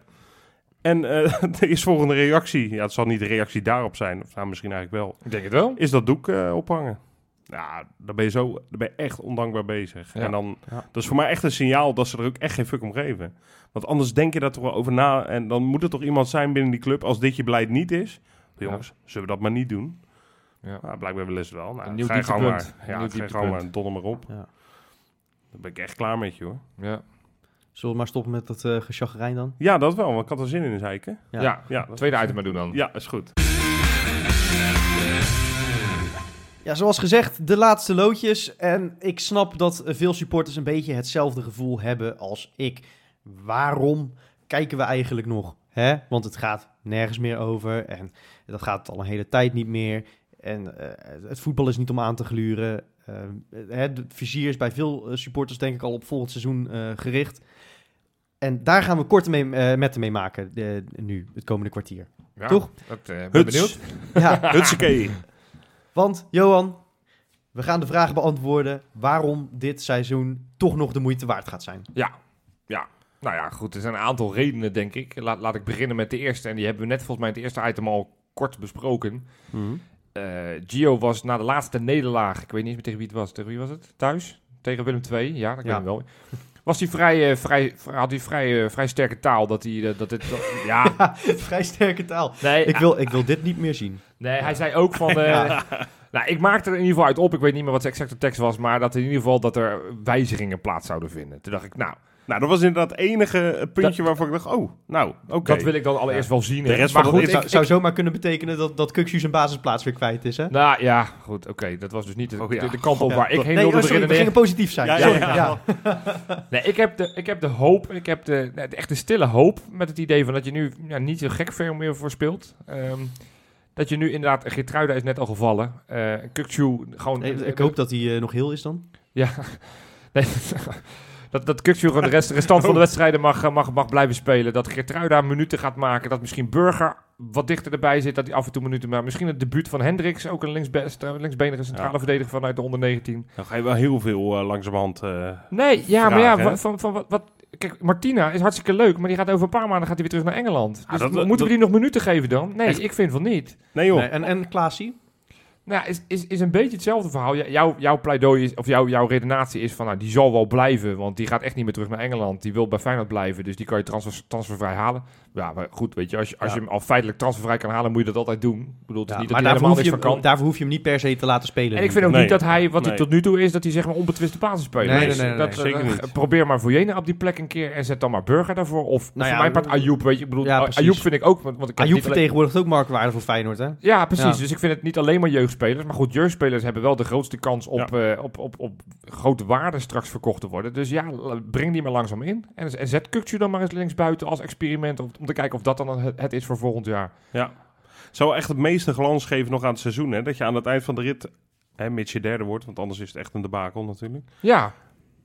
[SPEAKER 4] En eh de is volgende reactie, ja, het zal niet de reactie daarop zijn, of nou, misschien eigenlijk wel,
[SPEAKER 3] Ik denk het wel.
[SPEAKER 4] is dat doek eh, ophangen. Ja, dan ben je zo, dan ben je echt ondankbaar bezig.
[SPEAKER 3] Ja.
[SPEAKER 4] En dan,
[SPEAKER 2] Ja.
[SPEAKER 4] dat is voor mij echt een signaal dat ze er ook echt geen fuck om geven. Want anders denk je daar toch wel over na. En dan moet er toch iemand zijn binnen die club, als dit je beleid niet is. Jongens, zullen we dat maar niet doen?
[SPEAKER 3] Ja.
[SPEAKER 4] Nou, blijkbaar willen ze wel. Nou,
[SPEAKER 3] Een nieuw
[SPEAKER 4] ga je gang
[SPEAKER 3] dieptepunt.
[SPEAKER 4] maar.
[SPEAKER 3] Een
[SPEAKER 4] Ja,
[SPEAKER 3] nieuw
[SPEAKER 4] ga je gang
[SPEAKER 3] dieptepunt.
[SPEAKER 4] maar. Donder maar op.
[SPEAKER 2] Ja.
[SPEAKER 4] Dan ben ik echt klaar met je, hoor.
[SPEAKER 3] Ja.
[SPEAKER 2] Zullen we maar stoppen met dat eh gechagrijn dan?
[SPEAKER 4] Ja, dat wel, want ik had er zin in, zei ik. hè?
[SPEAKER 3] Ja.
[SPEAKER 2] Ja.
[SPEAKER 4] Ja, dat-
[SPEAKER 3] tweede item maar doen dan.
[SPEAKER 4] ja, is goed.
[SPEAKER 2] Ja, zoals gezegd, de laatste loodjes. En ik snap dat eh, veel supporters een beetje hetzelfde gevoel hebben als ik. Waarom kijken we eigenlijk nog? Hè? Want het gaat nergens meer over. En dat gaat al een hele tijd niet meer. En eh, het voetbal is niet om aan te gluren. Eh, hè, het vizier is bij veel eh, supporters denk ik al op volgend seizoen eh, gericht. En daar gaan we korte mee, eh, metten mee maken eh, nu, het komende kwartier.
[SPEAKER 3] Ja,
[SPEAKER 2] Toch?
[SPEAKER 3] Dat, eh, ben
[SPEAKER 4] Huts.
[SPEAKER 3] benieuwd.
[SPEAKER 2] Ja,
[SPEAKER 4] Hutsekee.
[SPEAKER 2] Want Johan, we gaan de vraag beantwoorden waarom dit seizoen toch nog de moeite waard gaat zijn.
[SPEAKER 3] Nou ja, goed. Er zijn een aantal redenen, denk ik. Laat, laat ik beginnen met de eerste. En die hebben we net volgens mij in het eerste item al kort besproken. Eh, Gio was na de laatste nederlaag, ik weet niet eens meer tegen wie het was. Tegen wie was het? Thuis? Tegen Willem II? Ja, dat kan
[SPEAKER 2] Ja.
[SPEAKER 3] ik wel. Was hij vrij, eh, vrij, vrij- had hij vrij, eh, vrij sterke taal dat hij eh, dat dit. dat- ja,
[SPEAKER 2] Vrij sterke taal.
[SPEAKER 3] nee,
[SPEAKER 2] Ik wil, ik wil dit niet meer zien.
[SPEAKER 3] nee, hij zei ook van. eh, Nou, ik maakte er in ieder geval uit op. Ik weet niet meer wat zijn exacte tekst was, maar dat in ieder geval dat er wijzigingen plaats zouden vinden. Toen dacht ik, nou,
[SPEAKER 4] Nou, dat was inderdaad het enige eh, puntje waarvan ik dacht, oh, nou, oké.
[SPEAKER 3] dat wil ik dan allereerst wel zien.
[SPEAKER 4] De
[SPEAKER 3] hè.
[SPEAKER 4] rest
[SPEAKER 3] maar
[SPEAKER 4] van
[SPEAKER 3] goed,
[SPEAKER 4] het
[SPEAKER 2] Het
[SPEAKER 3] ik-
[SPEAKER 2] zou, zou zomaar kunnen betekenen dat, dat Kuxu zijn basisplaats weer kwijt is, hè?
[SPEAKER 3] Nou ja, goed, oké. Dat was dus niet de,
[SPEAKER 4] Oh, ja.
[SPEAKER 3] de, de kant op
[SPEAKER 2] Ja.
[SPEAKER 3] waar ik heen
[SPEAKER 2] nee,
[SPEAKER 3] wilde
[SPEAKER 2] oh, sorry, we
[SPEAKER 3] beginnen.
[SPEAKER 2] gingen positief zijn.
[SPEAKER 4] Ja, ja,
[SPEAKER 2] sorry,
[SPEAKER 4] ja.
[SPEAKER 3] Nee, ik heb de, ik heb de hoop, ik heb de, nou, de echte stille hoop met het idee van dat je nu ja, niet zo gek veel meer voor speelt. Ehm, dat je nu inderdaad, Geertruida is net al gevallen. Eh Kukçu gewoon...
[SPEAKER 2] Nee, ik hoop dat hij eh, nog heel is dan.
[SPEAKER 3] Ja, nee, dat, dat Kukçu gewoon de rest, de restant van de wedstrijden mag, eh, mag, mag blijven spelen. Dat Geertruida minuten gaat maken. Dat misschien Burger wat dichter erbij zit, dat hij af en toe minuten maakt. Misschien het debuut van Hendricks, ook een linksbest, eh, linksbenige centrale
[SPEAKER 4] Ja.
[SPEAKER 3] verdediger vanuit de onder 19.
[SPEAKER 4] Dan ga je wel heel veel eh, langzamerhand... eh,
[SPEAKER 3] Nee, ja,
[SPEAKER 4] vraag,
[SPEAKER 3] maar ja,
[SPEAKER 4] hè?
[SPEAKER 3] wa- van, van wat, wat... Kijk, Martina is hartstikke leuk, maar die gaat over een paar maanden gaat hij weer terug naar Engeland.
[SPEAKER 4] Ah,
[SPEAKER 3] Dus
[SPEAKER 4] dat-
[SPEAKER 3] mo- moeten
[SPEAKER 4] dat-
[SPEAKER 3] we die nog minuten geven dan? Nee,
[SPEAKER 4] Echt?
[SPEAKER 3] ik vind van niet.
[SPEAKER 4] Nee joh,
[SPEAKER 2] Nee, en en Klaasie?
[SPEAKER 3] Nou, ja, is, is, is een beetje hetzelfde verhaal. Ja, Jouw, jouw pleidooi is, of jouw, jouw redenatie is van, nou, die zal wel blijven, want die gaat echt niet meer terug naar Engeland. Die wil bij Feyenoord blijven, dus die kan je transfer, transfervrij halen. Ja, maar goed, weet je, als je, als je
[SPEAKER 2] Ja.
[SPEAKER 3] hem al feitelijk transfervrij kan halen, moet je dat altijd doen. Ik bedoel, het is
[SPEAKER 2] Ja,
[SPEAKER 3] niet dat
[SPEAKER 2] maar
[SPEAKER 3] hij
[SPEAKER 2] daarvoor
[SPEAKER 3] helemaal
[SPEAKER 2] hoef,
[SPEAKER 3] niks
[SPEAKER 2] je
[SPEAKER 3] van
[SPEAKER 2] hem,
[SPEAKER 3] kan.
[SPEAKER 2] daarvoor hoef je hem niet per se te laten spelen.
[SPEAKER 3] En ik vind ook
[SPEAKER 4] Nee.
[SPEAKER 3] niet dat hij, wat hij
[SPEAKER 4] Nee.
[SPEAKER 3] tot nu toe is, dat hij zeg maar onbetwiste basisspeler
[SPEAKER 2] Nee,
[SPEAKER 3] is.
[SPEAKER 2] nee, nee, nee,
[SPEAKER 3] dat,
[SPEAKER 4] nee, zeker
[SPEAKER 3] eh,
[SPEAKER 4] niet.
[SPEAKER 3] Probeer maar Voyena op die plek een keer en zet dan maar Burger daarvoor. Of
[SPEAKER 2] Nou
[SPEAKER 3] voor
[SPEAKER 2] ja,
[SPEAKER 3] mijn part Ayoub, weet je. Ik bedoel,
[SPEAKER 2] ja,
[SPEAKER 3] Ay-
[SPEAKER 2] precies.
[SPEAKER 3] Ayoub vind ik ook, want, want ik heb
[SPEAKER 2] Ayoub
[SPEAKER 3] niet alleen-
[SPEAKER 2] vertegenwoordigt ook marktwaarde voor Feyenoord, hè?
[SPEAKER 3] Ja, precies.
[SPEAKER 2] Ja.
[SPEAKER 3] Dus ik vind het niet alleen maar jeugdspelers. Maar goed, jeugdspelers hebben wel de grootste kans op, eh, op, op, op grote waarden straks verkocht te worden. Dus ja, l- breng die maar langzaam in. En, en zet Kukcu dan maar eens linksbuiten als experiment. Om, om te kijken of dat dan het, het is voor volgend jaar.
[SPEAKER 4] zou echt het meeste glans geven nog aan het seizoen, hè? Dat je aan het eind van de rit, hè, mits je derde wordt, want anders is het echt een debakel natuurlijk.
[SPEAKER 3] Ja,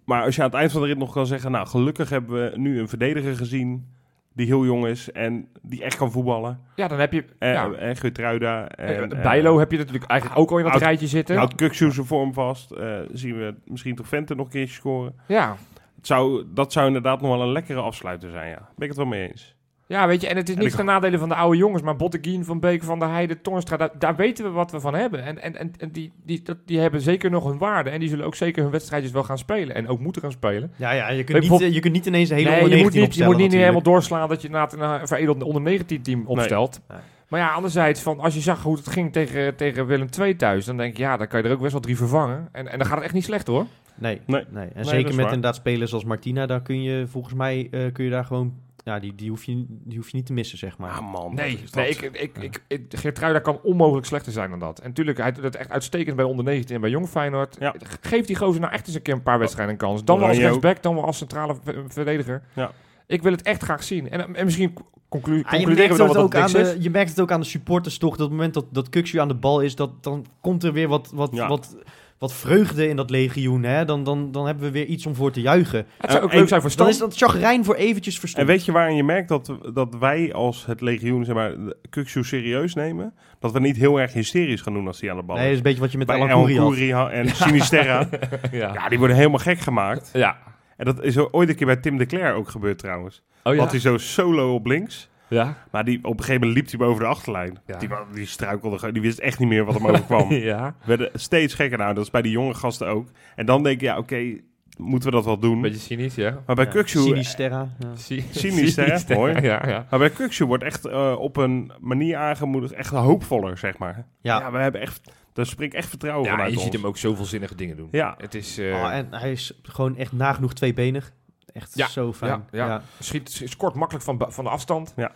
[SPEAKER 4] Maar als je aan het eind van de rit nog kan zeggen, nou gelukkig hebben we nu een verdediger gezien die heel jong is en die echt kan voetballen.
[SPEAKER 3] ja dan heb je...
[SPEAKER 4] Eh,
[SPEAKER 3] ja.
[SPEAKER 4] En Geertruida. En,
[SPEAKER 3] Eh,
[SPEAKER 4] eh,
[SPEAKER 3] Bijlo heb je natuurlijk eigenlijk ook al in dat
[SPEAKER 4] Oud-
[SPEAKER 3] rijtje zitten.
[SPEAKER 4] Houdt Kukzu zijn vorm vast. eh, zien we misschien toch Vente nog een keertje scoren.
[SPEAKER 3] ja.
[SPEAKER 4] Het zou, dat zou inderdaad nog wel een lekkere afsluiter zijn, ja. Ben ik het wel mee eens.
[SPEAKER 3] ja, weet je, en het is
[SPEAKER 4] En
[SPEAKER 3] niet
[SPEAKER 4] ik-
[SPEAKER 3] ten nadele van de oude jongens, maar Botteguin, Van Beek, Van der Heijden, Tornstra, daar, daar weten we wat we van hebben. En, en, en, en die, die, dat, die hebben zeker nog hun waarde en die zullen ook zeker hun wedstrijdjes wel gaan spelen en ook moeten gaan spelen.
[SPEAKER 2] Ja, ja je,
[SPEAKER 3] Nee,
[SPEAKER 2] kunt niet,
[SPEAKER 3] bijvoorbeeld-
[SPEAKER 2] eh, je kunt niet ineens de hele
[SPEAKER 3] nee,
[SPEAKER 2] onder
[SPEAKER 3] je moet
[SPEAKER 2] 19
[SPEAKER 3] niet, je moet niet
[SPEAKER 2] opstellen
[SPEAKER 3] helemaal doorslaan dat je inderdaad een eh, veredeld onder 19-team opstelt.
[SPEAKER 2] Nee.
[SPEAKER 3] Maar ja, anderzijds, van, als je zag hoe het ging tegen, tegen Willem II thuis, dan denk je, ja, dan kan je er ook best wel drie vervangen. En, en dan gaat het echt niet slecht hoor.
[SPEAKER 2] Nee, nee.
[SPEAKER 4] Nee.
[SPEAKER 2] En
[SPEAKER 4] dat
[SPEAKER 2] zeker
[SPEAKER 4] is
[SPEAKER 2] met
[SPEAKER 4] waar.
[SPEAKER 2] inderdaad spelers als Martina, daar kun je volgens mij eh, kun je daar gewoon. Ja, die, die, hoef je, die hoef je niet te missen, zeg maar.
[SPEAKER 4] Ah man.
[SPEAKER 3] Nee,
[SPEAKER 4] wat is dat?
[SPEAKER 3] nee ik, ik, ik, ik, Geertruida kan onmogelijk slechter zijn dan dat. En natuurlijk, hij doet het echt uitstekend bij de onder 19 en bij Jong Feyenoord.
[SPEAKER 4] Ja.
[SPEAKER 3] Geef die gozer nou echt eens een keer een paar wedstrijden een kans. Dan wel als
[SPEAKER 4] Oranje
[SPEAKER 3] rechtsback, dan wel als centrale ver- verdediger.
[SPEAKER 4] Ja.
[SPEAKER 3] Ik wil het echt graag zien. En, en misschien conclu-
[SPEAKER 2] Ah, je,
[SPEAKER 3] concluderen
[SPEAKER 2] merkt
[SPEAKER 3] we dan
[SPEAKER 2] het
[SPEAKER 3] wat
[SPEAKER 2] ook
[SPEAKER 3] dat
[SPEAKER 2] aan
[SPEAKER 3] niks is.
[SPEAKER 2] de, je merkt het ook aan de supporters toch. Dat op het moment dat, dat Kuxu aan de bal is, dat, dan komt er weer wat, wat,
[SPEAKER 4] Ja.
[SPEAKER 2] wat, wat vreugde in dat legioen. Hè? Dan, dan, dan hebben we weer iets om voor te juichen.
[SPEAKER 3] Het zou ook
[SPEAKER 4] En-
[SPEAKER 3] leuk zijn voor
[SPEAKER 2] Dan
[SPEAKER 3] Stan.
[SPEAKER 2] is dat chagrijn voor eventjes
[SPEAKER 4] En
[SPEAKER 2] verstomd.
[SPEAKER 4] weet je waarin je merkt dat, dat wij als het legioen, zeg maar, Kukzu serieus nemen? Dat we niet heel erg hysterisch gaan doen als die aan de bal
[SPEAKER 2] nee, dat is
[SPEAKER 4] is.
[SPEAKER 2] een beetje wat je met
[SPEAKER 4] Bij
[SPEAKER 2] Alan
[SPEAKER 4] El
[SPEAKER 2] Koeri had.
[SPEAKER 4] Khoury ha- en Sinisterra.
[SPEAKER 3] Ja.
[SPEAKER 4] ja, die worden helemaal gek gemaakt.
[SPEAKER 3] ja.
[SPEAKER 4] En dat is ooit een keer bij Tim de Cler ook gebeurd trouwens.
[SPEAKER 3] Oh
[SPEAKER 4] Want hij zo solo op links.
[SPEAKER 3] Ja.
[SPEAKER 4] Maar die, op een gegeven moment liep hij boven de achterlijn.
[SPEAKER 3] Ja.
[SPEAKER 4] Die, man- die struikelde, gewoon, die wist echt niet meer wat hem overkwam.
[SPEAKER 3] ja.
[SPEAKER 4] We werden steeds gekker. Nou, dat is bij die jonge gasten ook. En dan denk je, ja, oké, moeten we dat wel doen?
[SPEAKER 3] Beetje cynisch, ja.
[SPEAKER 4] Maar bij eh,
[SPEAKER 2] Ja,
[SPEAKER 4] Kuksu...
[SPEAKER 2] Sinisterra. Ja.
[SPEAKER 3] Cy-
[SPEAKER 4] Cynisch, hè?
[SPEAKER 3] cynisch,
[SPEAKER 4] Mooi.
[SPEAKER 3] Ja, ja.
[SPEAKER 4] Maar bij Kuksu wordt echt eh, op een manier aangemoedigd, echt hoopvoller, zeg maar. Ja,
[SPEAKER 2] Ja.
[SPEAKER 4] we hebben echt... Daar spreekt echt vertrouwen
[SPEAKER 3] ja
[SPEAKER 4] vanuit
[SPEAKER 3] je
[SPEAKER 4] ons.
[SPEAKER 3] ziet hem ook zoveel zinnige dingen doen.
[SPEAKER 4] Ja,
[SPEAKER 3] Het is... eh,
[SPEAKER 2] Oh, en hij is gewoon echt nagenoeg tweebenig. Echt
[SPEAKER 3] Ja,
[SPEAKER 2] zo fijn.
[SPEAKER 3] ja, ja. schiet, scoort makkelijk van, ba- van de afstand.
[SPEAKER 4] Ja.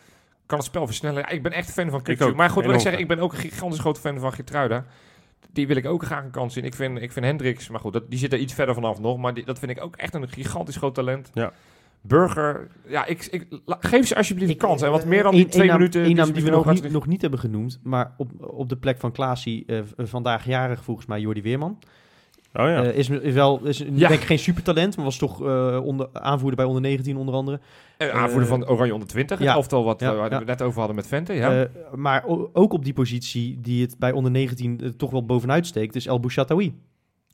[SPEAKER 3] Kan het spel versnellen. Ja, ik ben echt fan van
[SPEAKER 4] Ik
[SPEAKER 3] Kukçu.
[SPEAKER 4] ook.
[SPEAKER 3] Maar goed, wil ik
[SPEAKER 4] Enorm
[SPEAKER 3] zeggen, ik ben ook een gigantisch grote fan van Gertruida. Die wil ik ook graag een kans zien. Ik vind, ik vind Hendricks, maar goed, dat, die zit er iets verder vanaf nog. Maar die- dat vind ik ook echt een gigantisch groot talent.
[SPEAKER 4] Ja.
[SPEAKER 3] Burger, ja, ik, ik, la- geef ze alsjeblieft een
[SPEAKER 2] Ik-
[SPEAKER 3] kans. En wat
[SPEAKER 2] eh,
[SPEAKER 3] meer dan
[SPEAKER 2] één-
[SPEAKER 3] die twee
[SPEAKER 2] één naam-
[SPEAKER 3] minuten.
[SPEAKER 2] één naam
[SPEAKER 3] ze
[SPEAKER 2] die we
[SPEAKER 3] misschien
[SPEAKER 2] nog
[SPEAKER 3] ook
[SPEAKER 2] niet,
[SPEAKER 3] gaan-
[SPEAKER 2] nog niet hebben genoemd, maar op, op de plek van Klaasie, eh, v- eh, vandaag jarig volgens mij Jordi Weerman.
[SPEAKER 4] Oh ja.
[SPEAKER 2] Eh, is me- is wel, is een-
[SPEAKER 3] Ja.
[SPEAKER 2] denk ik geen supertalent, maar was toch eh, onder, aanvoerder bij onder 19 onder andere.
[SPEAKER 3] Eh, aanvoerder van Oranje onder 20.
[SPEAKER 2] ja.
[SPEAKER 3] Het elftal wat
[SPEAKER 2] Ja,
[SPEAKER 3] eh, waar
[SPEAKER 2] ja.
[SPEAKER 3] we het net over hadden met Vente. Ja.
[SPEAKER 2] Eh, maar o- ook op die positie die het bij onder 19 eh, toch wel bovenuit steekt, is El Bouchatoui.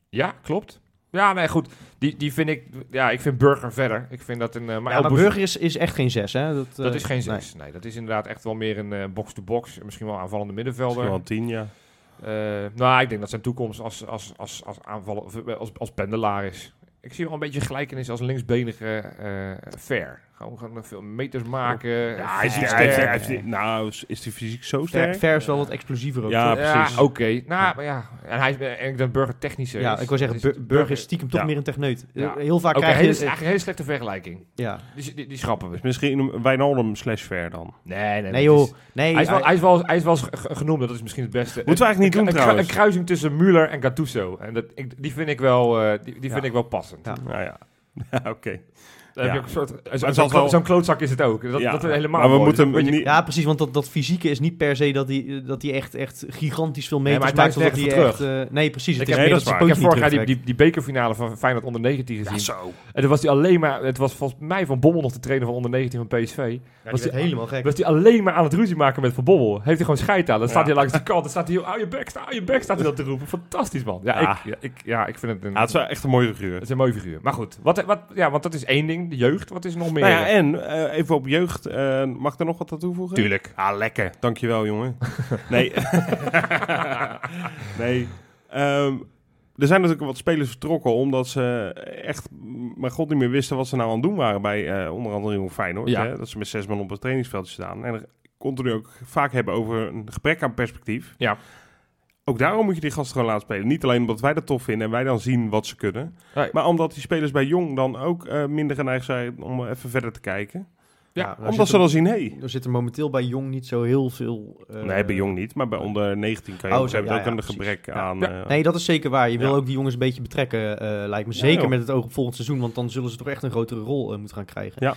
[SPEAKER 3] ja, klopt. Ja, nee, goed. Die, die vind ik... Ja, ik vind Burger verder. Ik vind dat een... eh,
[SPEAKER 2] Maar,
[SPEAKER 3] El
[SPEAKER 2] maar
[SPEAKER 3] Bouch-
[SPEAKER 2] Burger is, is echt geen zes, hè? Dat, eh,
[SPEAKER 3] Dat is geen
[SPEAKER 2] nee.
[SPEAKER 3] zes. Nee. dat is inderdaad echt wel meer een eh, box-to-box. Misschien wel aanvallende middenvelder.
[SPEAKER 4] Misschien wel een tien, ja.
[SPEAKER 3] Eh, nou, ik denk dat zijn toekomst als, als, als, als aanvallen, of, eh, als, als pendelaar is. Ik zie wel een beetje gelijkenis als linksbenige eh fair. Gewoon, gewoon veel meters maken. eh,
[SPEAKER 4] Ja, hij is,
[SPEAKER 3] fysiek
[SPEAKER 4] hij heeft-
[SPEAKER 3] sterk.
[SPEAKER 4] hij heeft- nou, is- is die fysiek zo
[SPEAKER 2] Ver,
[SPEAKER 4] sterk?
[SPEAKER 2] Ver is wel wat explosiever ook.
[SPEAKER 4] Ja,
[SPEAKER 2] toch?
[SPEAKER 3] Ja,
[SPEAKER 4] precies.
[SPEAKER 3] oké. Nou, maar ja. En hij is, eh, en ik denk burger technischer.
[SPEAKER 2] Ja,
[SPEAKER 3] is.
[SPEAKER 2] ik wil zeggen,
[SPEAKER 3] Dat is-
[SPEAKER 2] Bur- Burger is stiekem toch
[SPEAKER 4] Ja.
[SPEAKER 2] meer een techneut. Eh,
[SPEAKER 3] Ja.
[SPEAKER 2] Heel vaak
[SPEAKER 3] Ook een
[SPEAKER 2] krijg
[SPEAKER 3] hele,
[SPEAKER 2] je...
[SPEAKER 3] eigenlijk een hele slechte vergelijking.
[SPEAKER 2] ja.
[SPEAKER 3] Die, die, die schrappen we.
[SPEAKER 4] Dus misschien een Wijnaldum slash Ver dan.
[SPEAKER 3] Nee, nee.
[SPEAKER 2] Nee
[SPEAKER 3] dat
[SPEAKER 2] joh,
[SPEAKER 3] is-
[SPEAKER 2] nee.
[SPEAKER 3] hij, is wel, hij, is wel, hij is wel eens ge- genoemd, dat is misschien het beste.
[SPEAKER 4] Moeten we eigenlijk niet
[SPEAKER 3] Een-
[SPEAKER 4] doen
[SPEAKER 3] een, kru-
[SPEAKER 4] trouwens.
[SPEAKER 3] Een kruising tussen Müller en Gattuso. En dat, ik, die vind ik wel, eh, die, die vind
[SPEAKER 4] Ja.
[SPEAKER 3] ik wel passend.
[SPEAKER 2] Ja.
[SPEAKER 4] Nou ja, ja oké.
[SPEAKER 3] Dan heb
[SPEAKER 4] Ja.
[SPEAKER 3] je ook een soort- en zo-
[SPEAKER 4] het
[SPEAKER 3] Zo'n
[SPEAKER 4] zal wel-
[SPEAKER 3] zo'n klootzak is het ook. Dat,
[SPEAKER 4] Ja,
[SPEAKER 3] dat is helemaal
[SPEAKER 4] maar we
[SPEAKER 3] mooi.
[SPEAKER 4] moeten
[SPEAKER 3] Dus een
[SPEAKER 4] hem
[SPEAKER 3] beetje-
[SPEAKER 4] niet...
[SPEAKER 2] Ja, precies, want dat, dat fysieke is niet per se dat hij dat die echt, echt gigantisch veel meters
[SPEAKER 3] maar hij
[SPEAKER 2] maakt.
[SPEAKER 3] duikt
[SPEAKER 2] of
[SPEAKER 3] er
[SPEAKER 2] dat
[SPEAKER 3] echt
[SPEAKER 2] hij
[SPEAKER 3] voor
[SPEAKER 2] echt, eh, nee, precies. Het
[SPEAKER 4] heb-
[SPEAKER 2] is
[SPEAKER 3] Ik
[SPEAKER 4] nee,
[SPEAKER 2] meer dat
[SPEAKER 4] dat is
[SPEAKER 2] hij
[SPEAKER 3] Ik
[SPEAKER 2] zijn
[SPEAKER 3] heb vorig jaar
[SPEAKER 2] pootje
[SPEAKER 3] die,
[SPEAKER 2] niet terugtrekt.
[SPEAKER 3] die, die bekerfinale van Feyenoord onder 19 gezien.
[SPEAKER 4] zo.
[SPEAKER 3] en toen was hij alleen maar, het was volgens mij Van Bommel nog de trainer van onder 19 van PSV.
[SPEAKER 2] was
[SPEAKER 3] werd
[SPEAKER 2] hij helemaal gek.
[SPEAKER 3] Was hij alleen maar aan het ruzie maken met Van Bommel. Heeft hij gewoon scheid aan. Dan staat
[SPEAKER 4] Ja.
[SPEAKER 3] hij langs de kant. Dan staat hij, hou je bek, sta- hou je bek, staat hij dat te roepen. Fantastisch man. Ja,
[SPEAKER 4] Ja.
[SPEAKER 3] Ik, ja, ik, ja, ik vind het een,
[SPEAKER 4] Ja, het is wel echt een mooie figuur.
[SPEAKER 3] het is een mooie figuur. Maar goed, wat, wat, ja, want dat is één ding. De jeugd, wat is nog meer?
[SPEAKER 4] Nou ja, en eh, even op jeugd. eh, mag ik er nog wat aan toevoegen?
[SPEAKER 3] Tuurlijk.
[SPEAKER 4] Ah, lekker. Dankjewel, jongen. nee. nee. Ehm, er zijn natuurlijk wat spelers vertrokken omdat ze echt, mm, mijn god, niet meer wisten wat ze nou aan het doen waren bij eh, onder andere Jong Feyenoord.
[SPEAKER 3] Ja.
[SPEAKER 4] Hè? Dat ze met zes man op het trainingsveld staan. En er continu ook vaak hebben over een gebrek aan perspectief.
[SPEAKER 3] Ja.
[SPEAKER 4] Ook daarom moet je die gasten gewoon laten spelen. Niet alleen omdat wij dat tof vinden en wij dan zien wat ze kunnen.
[SPEAKER 3] Nee.
[SPEAKER 4] Maar omdat die spelers bij Jong dan ook eh, minder geneigd zijn om eh, even verder te kijken.
[SPEAKER 3] Ja,
[SPEAKER 2] daar
[SPEAKER 4] omdat ze
[SPEAKER 2] zit
[SPEAKER 4] dan zien, hé,
[SPEAKER 2] er, er zit er momenteel bij Jong niet zo heel veel... eh,
[SPEAKER 4] nee, bij jong niet, maar bij onder 19 kan je
[SPEAKER 2] Oh,
[SPEAKER 4] ook,
[SPEAKER 2] zo,
[SPEAKER 4] ze hebben
[SPEAKER 2] ja,
[SPEAKER 4] ook
[SPEAKER 2] ja,
[SPEAKER 4] een
[SPEAKER 2] precies.
[SPEAKER 4] gebrek
[SPEAKER 2] Ja.
[SPEAKER 4] aan.
[SPEAKER 3] Ja.
[SPEAKER 4] eh,
[SPEAKER 2] Nee, dat is zeker waar. Je wil
[SPEAKER 4] Ja.
[SPEAKER 2] ook die jongens een beetje betrekken, eh, lijkt me.
[SPEAKER 4] Ja,
[SPEAKER 2] Zeker
[SPEAKER 4] joh.
[SPEAKER 2] met het oog op volgend seizoen, want dan zullen ze toch echt een grotere rol eh, moeten gaan krijgen.
[SPEAKER 4] Ja.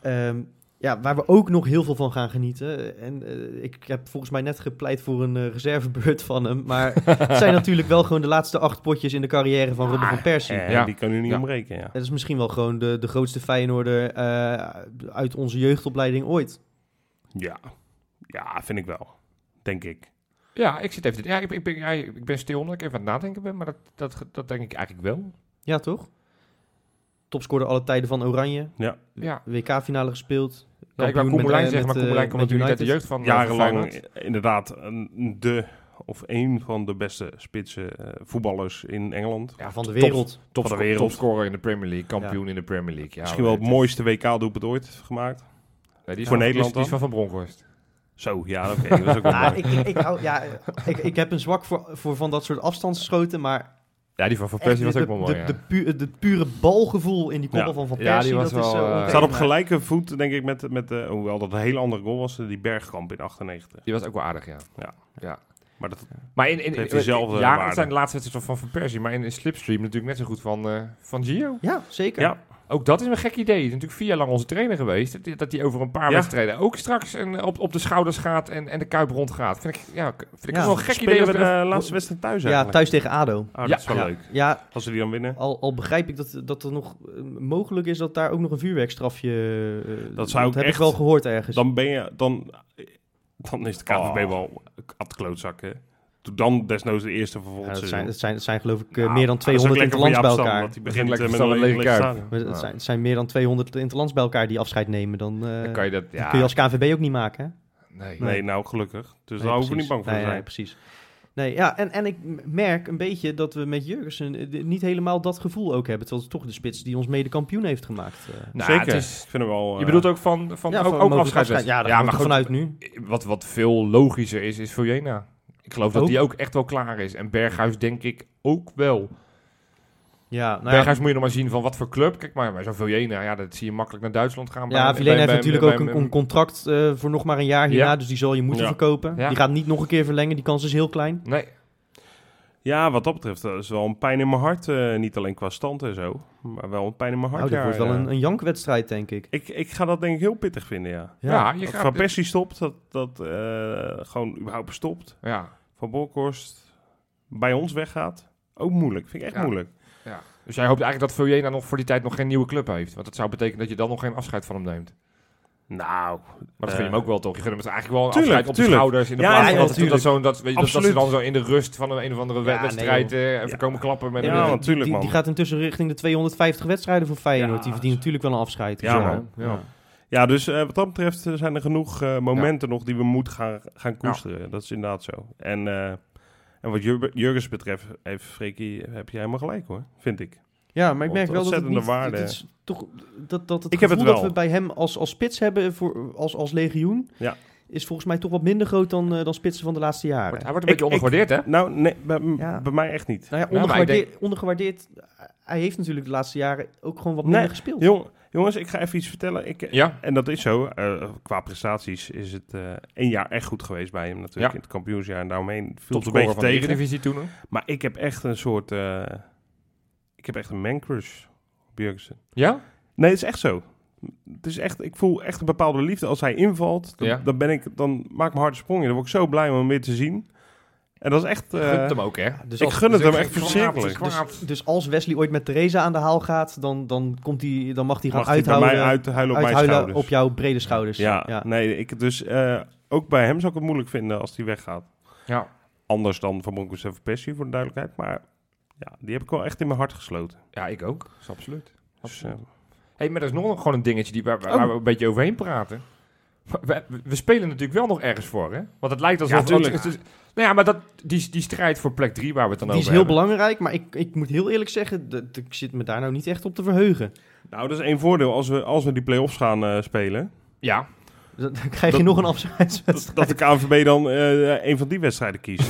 [SPEAKER 2] Ehm, ja, waar we ook nog heel veel van gaan genieten. En eh, ik heb volgens mij net gepleit voor een eh, reservebeurt van hem. Maar het zijn natuurlijk wel gewoon de laatste acht potjes in de carrière van Robin van Persie.
[SPEAKER 4] eh,
[SPEAKER 3] Ja.
[SPEAKER 4] Die kan u niet
[SPEAKER 3] Ja.
[SPEAKER 4] ontbreken. Ja.
[SPEAKER 2] Dat is misschien wel gewoon de, de grootste Feyenoorder eh, uit onze jeugdopleiding ooit.
[SPEAKER 4] ja, ja, vind ik wel. Denk ik.
[SPEAKER 3] Ja, ik zit even. Ja, ik, ik, ben, ja, ik ben stil omdat ik even aan het nadenken ben, maar dat, dat, dat denk ik eigenlijk wel.
[SPEAKER 2] Ja, toch? Topscorer alle tijden van Oranje.
[SPEAKER 3] Ja,
[SPEAKER 2] WK-finale gespeeld.
[SPEAKER 3] ja ik
[SPEAKER 2] Kampioen
[SPEAKER 3] wou
[SPEAKER 2] met,
[SPEAKER 3] Koemelijn
[SPEAKER 2] eh,
[SPEAKER 3] zeggen, maar
[SPEAKER 2] met, eh,
[SPEAKER 3] Koemelijn komt
[SPEAKER 2] met
[SPEAKER 3] natuurlijk uit de
[SPEAKER 2] United.
[SPEAKER 3] jeugd van eh,
[SPEAKER 4] Jarenlang
[SPEAKER 3] Feyenoord.
[SPEAKER 4] eh, inderdaad een- de of een van de beste spitsen eh, voetballers in Engeland.
[SPEAKER 2] Ja, van de wereld.
[SPEAKER 3] Topsco-
[SPEAKER 4] van de wereld.
[SPEAKER 3] Topscorer in de Premier League, kampioen in de Premier League. Ja,
[SPEAKER 4] Misschien wel het
[SPEAKER 3] nee,
[SPEAKER 4] mooiste WK-doelpunt ooit gemaakt.
[SPEAKER 3] nee, die is
[SPEAKER 4] voor
[SPEAKER 3] van-
[SPEAKER 4] Nederland
[SPEAKER 3] Die is, die is van Van Bronkhorst.
[SPEAKER 4] Zo, ja, oké. dat is ook wel
[SPEAKER 2] Ja,
[SPEAKER 4] mooi.
[SPEAKER 2] ik, ik, ik, hou- ja, ik, ik heb een zwak voor, voor van dat soort afstandsschoten, maar
[SPEAKER 3] Ja, die van Van
[SPEAKER 2] echt
[SPEAKER 3] Persie
[SPEAKER 2] de,
[SPEAKER 3] was ook
[SPEAKER 2] de,
[SPEAKER 3] wel mooi.
[SPEAKER 2] de,
[SPEAKER 3] ja.
[SPEAKER 2] de pu- de pure balgevoel in die koppel
[SPEAKER 4] Ja.
[SPEAKER 2] van Van
[SPEAKER 3] Ja, die
[SPEAKER 2] Persie,
[SPEAKER 3] was
[SPEAKER 2] dat is
[SPEAKER 3] wel,
[SPEAKER 2] zo
[SPEAKER 3] eh,
[SPEAKER 2] ontegenbaar.
[SPEAKER 4] Staat op gelijke voet, denk ik, met, met eh, hoewel dat een hele andere goal was, eh, die Bergkamp in 98.
[SPEAKER 3] Die was ook wel aardig, ja.
[SPEAKER 4] Maar dat,
[SPEAKER 3] Maar in, in,
[SPEAKER 4] Het heeft
[SPEAKER 3] in-
[SPEAKER 4] diezelfde
[SPEAKER 3] ja,
[SPEAKER 4] waarde.
[SPEAKER 3] het zijn de laatste wedstrijden van Van Persie, maar in, in Slipstream natuurlijk net zo goed van, eh, van Gio.
[SPEAKER 2] Ja, zeker.
[SPEAKER 4] Ja.
[SPEAKER 3] Ook dat is een gek idee. Het is natuurlijk vier jaar lang onze trainer geweest. Dat die- Dat hij over een paar
[SPEAKER 4] Ja.
[SPEAKER 3] wedstrijden ook straks een, op, op de schouders gaat en, en de kuip rond gaat. Vind ik, ja, vind ik
[SPEAKER 2] Ja.
[SPEAKER 3] wel een gek idee.
[SPEAKER 4] spelen
[SPEAKER 3] als
[SPEAKER 4] we
[SPEAKER 3] we
[SPEAKER 4] de
[SPEAKER 3] dat-
[SPEAKER 4] eh, laatste wedstrijd thuis
[SPEAKER 2] Ja,
[SPEAKER 4] eigenlijk.
[SPEAKER 2] thuis Oh, tegen ADO.
[SPEAKER 4] Oh, dat
[SPEAKER 3] Ja.
[SPEAKER 4] is wel
[SPEAKER 3] Ja.
[SPEAKER 4] leuk.
[SPEAKER 2] Ja,
[SPEAKER 4] Als ze die dan winnen.
[SPEAKER 2] al, al begrijp ik dat, dat er nog eh, mogelijk is dat daar ook nog een vuurwerkstrafje... eh,
[SPEAKER 4] Dat zou ik
[SPEAKER 2] heb
[SPEAKER 4] echt-
[SPEAKER 2] ik wel gehoord ergens.
[SPEAKER 4] Dan ben je, dan, dan is de KVB wel atklotzakken. Doe dan desnoods de eerste van
[SPEAKER 2] Ja,
[SPEAKER 4] volgend
[SPEAKER 2] dat, zijn,
[SPEAKER 4] seizoen.
[SPEAKER 2] dat, zijn, dat zijn geloof ik eh,
[SPEAKER 4] Nou,
[SPEAKER 2] meer dan
[SPEAKER 4] dat is ook
[SPEAKER 2] 200 in het
[SPEAKER 4] lekker voor
[SPEAKER 2] land bij
[SPEAKER 4] Jaap Stam,
[SPEAKER 2] elkaar.
[SPEAKER 4] want Die begint
[SPEAKER 3] Dat is
[SPEAKER 4] eh, met
[SPEAKER 3] lekker
[SPEAKER 4] een
[SPEAKER 3] voor Stan
[SPEAKER 4] lelijk
[SPEAKER 3] Lelijk
[SPEAKER 4] stadion.
[SPEAKER 2] Maar Het zijn, het zijn meer dan 200 interlands bij elkaar die afscheid nemen. Dan, eh,
[SPEAKER 3] Dan kan je dat,
[SPEAKER 2] dat
[SPEAKER 3] ja,
[SPEAKER 2] kun je als KNVB ook niet maken, hè?
[SPEAKER 3] nee.
[SPEAKER 4] Nee, nou gelukkig. Dus
[SPEAKER 2] Nee,
[SPEAKER 4] daar hoeven we niet
[SPEAKER 2] precies.
[SPEAKER 4] bang voor te
[SPEAKER 2] Nee,
[SPEAKER 4] zijn.
[SPEAKER 2] nee, precies. Nee, ja, en, en ik m- merk een beetje dat we met Jurgensen eh, d- niet helemaal dat gevoel ook hebben. Terwijl het toch de spits die ons mede kampioen heeft gemaakt. eh.
[SPEAKER 3] Nou,
[SPEAKER 4] Zeker.
[SPEAKER 3] het is-
[SPEAKER 4] ik vind hem wel... eh,
[SPEAKER 3] je bedoelt ook van, van
[SPEAKER 2] Ja,
[SPEAKER 3] ook,
[SPEAKER 2] van
[SPEAKER 3] ook
[SPEAKER 2] mogelijk
[SPEAKER 3] afscheid.
[SPEAKER 2] afscheid. Ja, daar gaan we toch vanuit nu.
[SPEAKER 3] Wat, wat veel logischer is, is Vujena. Ik geloof dat
[SPEAKER 2] Ook.
[SPEAKER 3] die ook echt wel klaar is. En Berghuis denk ik ook wel.
[SPEAKER 2] Nou Ja, nou ja,
[SPEAKER 3] Berghuis moet je nog maar zien van wat voor club. Kijk maar, maar zo'n Vujena, ja, dat zie je makkelijk naar Duitsland gaan. bij-
[SPEAKER 2] ja
[SPEAKER 3] bij-
[SPEAKER 2] Vilena heeft
[SPEAKER 3] bij-
[SPEAKER 2] natuurlijk
[SPEAKER 3] bij-
[SPEAKER 2] ook een,
[SPEAKER 3] bij-
[SPEAKER 2] een contract eh, voor nog maar een jaar hierna. Dus die zal je moeten
[SPEAKER 4] Ja.
[SPEAKER 2] verkopen.
[SPEAKER 3] Ja.
[SPEAKER 2] Die gaat niet nog een keer verlengen. Die kans is heel klein.
[SPEAKER 3] Nee.
[SPEAKER 4] Ja, wat dat betreft dat is wel een pijn in mijn hart. eh, niet alleen qua stand en zo, maar wel een pijn in mijn hart.
[SPEAKER 2] Nou, dit
[SPEAKER 4] ja,
[SPEAKER 2] wordt wel
[SPEAKER 4] ja.
[SPEAKER 2] een, een jankwedstrijd, denk ik.
[SPEAKER 4] Ik, ik ga dat denk ik heel pittig vinden, ja.
[SPEAKER 3] Ja, Ah, je
[SPEAKER 4] Dat
[SPEAKER 3] gaat...
[SPEAKER 4] Van Persie stopt, dat, dat eh, gewoon überhaupt stopt.
[SPEAKER 3] Ja,
[SPEAKER 4] Van Bolkhorst bij ons weggaat. Ook moeilijk, vind ik echt
[SPEAKER 3] Ja.
[SPEAKER 4] moeilijk.
[SPEAKER 3] ja. Dus jij hoopt eigenlijk dat Vujena nog voor die tijd nog geen nieuwe club heeft. Want dat zou betekenen dat je dan nog geen afscheid van hem neemt.
[SPEAKER 4] Nou,
[SPEAKER 3] Maar dat
[SPEAKER 4] Eh,
[SPEAKER 3] gun je hem ook wel, toch? Je gunt hem eigenlijk wel een
[SPEAKER 4] tuurlijk,
[SPEAKER 3] afscheid op de
[SPEAKER 4] tuurlijk.
[SPEAKER 3] schouders. In de
[SPEAKER 4] Ja,
[SPEAKER 3] plaats van
[SPEAKER 2] ja,
[SPEAKER 3] dat, het- dat,
[SPEAKER 2] tuurlijk.
[SPEAKER 3] zo'n- dat, weet je, dat, dat ze
[SPEAKER 4] Absoluut.
[SPEAKER 3] dan zo in de rust van een, een of andere wed-
[SPEAKER 2] Ja, nee,
[SPEAKER 3] wedstrijd eh, even
[SPEAKER 4] Ja.
[SPEAKER 3] komen klappen. Met
[SPEAKER 4] Ja,
[SPEAKER 3] een-
[SPEAKER 4] want- natuurlijk,
[SPEAKER 2] die, die
[SPEAKER 4] man.
[SPEAKER 2] gaat intussen richting de 250 wedstrijden voor Feyenoord.
[SPEAKER 4] Ja.
[SPEAKER 2] die verdient natuurlijk wel een afscheid.
[SPEAKER 4] Ja,
[SPEAKER 2] Dus,
[SPEAKER 4] man.
[SPEAKER 3] Ja.
[SPEAKER 4] Ja, dus eh, wat dat betreft eh, zijn er genoeg eh, momenten nog die we moeten gaan, gaan koesteren. Dat is inderdaad zo. En, eh, en wat Jur- Jurgens betreft, heeft Freekie, heb jij helemaal gelijk hoor, vind ik.
[SPEAKER 2] Ja, maar ik merk wel dat het
[SPEAKER 4] Ontzettende
[SPEAKER 2] niet...
[SPEAKER 4] waarde.
[SPEAKER 2] Het is toch, dat, dat het
[SPEAKER 4] Ik heb
[SPEAKER 2] gevoel
[SPEAKER 4] het
[SPEAKER 2] dat
[SPEAKER 4] wel.
[SPEAKER 2] we bij hem als, als spits hebben, voor, als, als legioen...
[SPEAKER 4] Ja.
[SPEAKER 2] is volgens mij toch wat minder groot dan, eh, dan spitsen van de laatste jaren.
[SPEAKER 3] Hij wordt een
[SPEAKER 4] Ik-
[SPEAKER 3] beetje
[SPEAKER 4] ik-
[SPEAKER 3] ondergewaardeerd, hè?
[SPEAKER 4] Nou, nee, bij, m-
[SPEAKER 2] Ja.
[SPEAKER 4] bij mij echt niet.
[SPEAKER 2] Nou ja,
[SPEAKER 3] Ja, maar ik
[SPEAKER 2] ondergewaardeerd, ondergewaardeerd... eh, Hij heeft natuurlijk de laatste jaren ook gewoon wat minder
[SPEAKER 4] Nee,
[SPEAKER 2] gespeeld.
[SPEAKER 4] Jong, jongens, ik ga even iets vertellen. Ik,
[SPEAKER 3] Ja.
[SPEAKER 4] En dat is zo. eh, qua prestaties is het eh één jaar echt goed geweest bij hem natuurlijk.
[SPEAKER 3] Ja.
[SPEAKER 4] In het kampioensjaar en daaromheen viel
[SPEAKER 3] Tot
[SPEAKER 4] het
[SPEAKER 3] de
[SPEAKER 4] een
[SPEAKER 3] scorer
[SPEAKER 4] beetje
[SPEAKER 3] van de
[SPEAKER 4] tegen.
[SPEAKER 3] Eredivisie toen. hè?
[SPEAKER 4] Maar ik heb echt een soort... eh, ik heb echt een mancrush op Jurgensen.
[SPEAKER 3] Ja?
[SPEAKER 4] Nee, het is echt zo. Het is echt, ik voel echt een bepaalde liefde. Als hij invalt, dan,
[SPEAKER 3] Ja.
[SPEAKER 4] dan, ben ik, dan maak ik mijn harde sprongen. Dan word ik zo blij om hem weer te zien. En dat is echt... eh,
[SPEAKER 3] Gunt hem ook, hè?
[SPEAKER 2] Dus
[SPEAKER 4] ik
[SPEAKER 2] als-
[SPEAKER 4] gun het
[SPEAKER 3] dus
[SPEAKER 4] hem
[SPEAKER 3] ik-
[SPEAKER 4] echt
[SPEAKER 3] ik-
[SPEAKER 4] verschrikkelijk.
[SPEAKER 3] ik-
[SPEAKER 2] Dus, dus als Wesley ooit met Theresa aan de haal gaat, dan, dan, komt die, dan mag hij gaan
[SPEAKER 4] Mag hij bij
[SPEAKER 2] uithouden.
[SPEAKER 4] mij uit, huilen op mijn
[SPEAKER 2] uithuilen
[SPEAKER 4] schouders.
[SPEAKER 2] op jouw brede schouders.
[SPEAKER 4] ja, nee, ik, dus eh, ook bij hem zou ik het moeilijk vinden als hij weggaat.
[SPEAKER 3] Ja.
[SPEAKER 4] Anders dan Van Bronckhorst en Van Persie, voor de duidelijkheid. Maar ja, die heb ik wel echt in mijn hart gesloten.
[SPEAKER 3] Ja, ik ook. Dat is absoluut.
[SPEAKER 4] Dus, eh,
[SPEAKER 3] Hey, maar er is nog een- gewoon een dingetje die, waar, waar
[SPEAKER 2] Oh.
[SPEAKER 3] we een beetje overheen praten. Maar We, we spelen natuurlijk wel nog ergens voor, hè? Want het lijkt alsof...
[SPEAKER 4] Ja, tuurlijk.
[SPEAKER 3] het- het- het- nou ja, maar dat, die, die strijd voor plek 3 waar we het dan
[SPEAKER 2] Die is
[SPEAKER 3] over
[SPEAKER 2] heel
[SPEAKER 3] hebben.
[SPEAKER 2] belangrijk, maar ik, ik moet heel eerlijk zeggen, dat, ik zit me daar nou niet echt op te verheugen.
[SPEAKER 4] nou, dat is één voordeel als we, als we die play-offs gaan eh, spelen.
[SPEAKER 3] Ja,
[SPEAKER 2] Dan dan krijg je
[SPEAKER 4] Dat-
[SPEAKER 2] nog een afscheidswedstrijd.
[SPEAKER 4] Dat, dat de KNVB dan eh een van die wedstrijden kiest.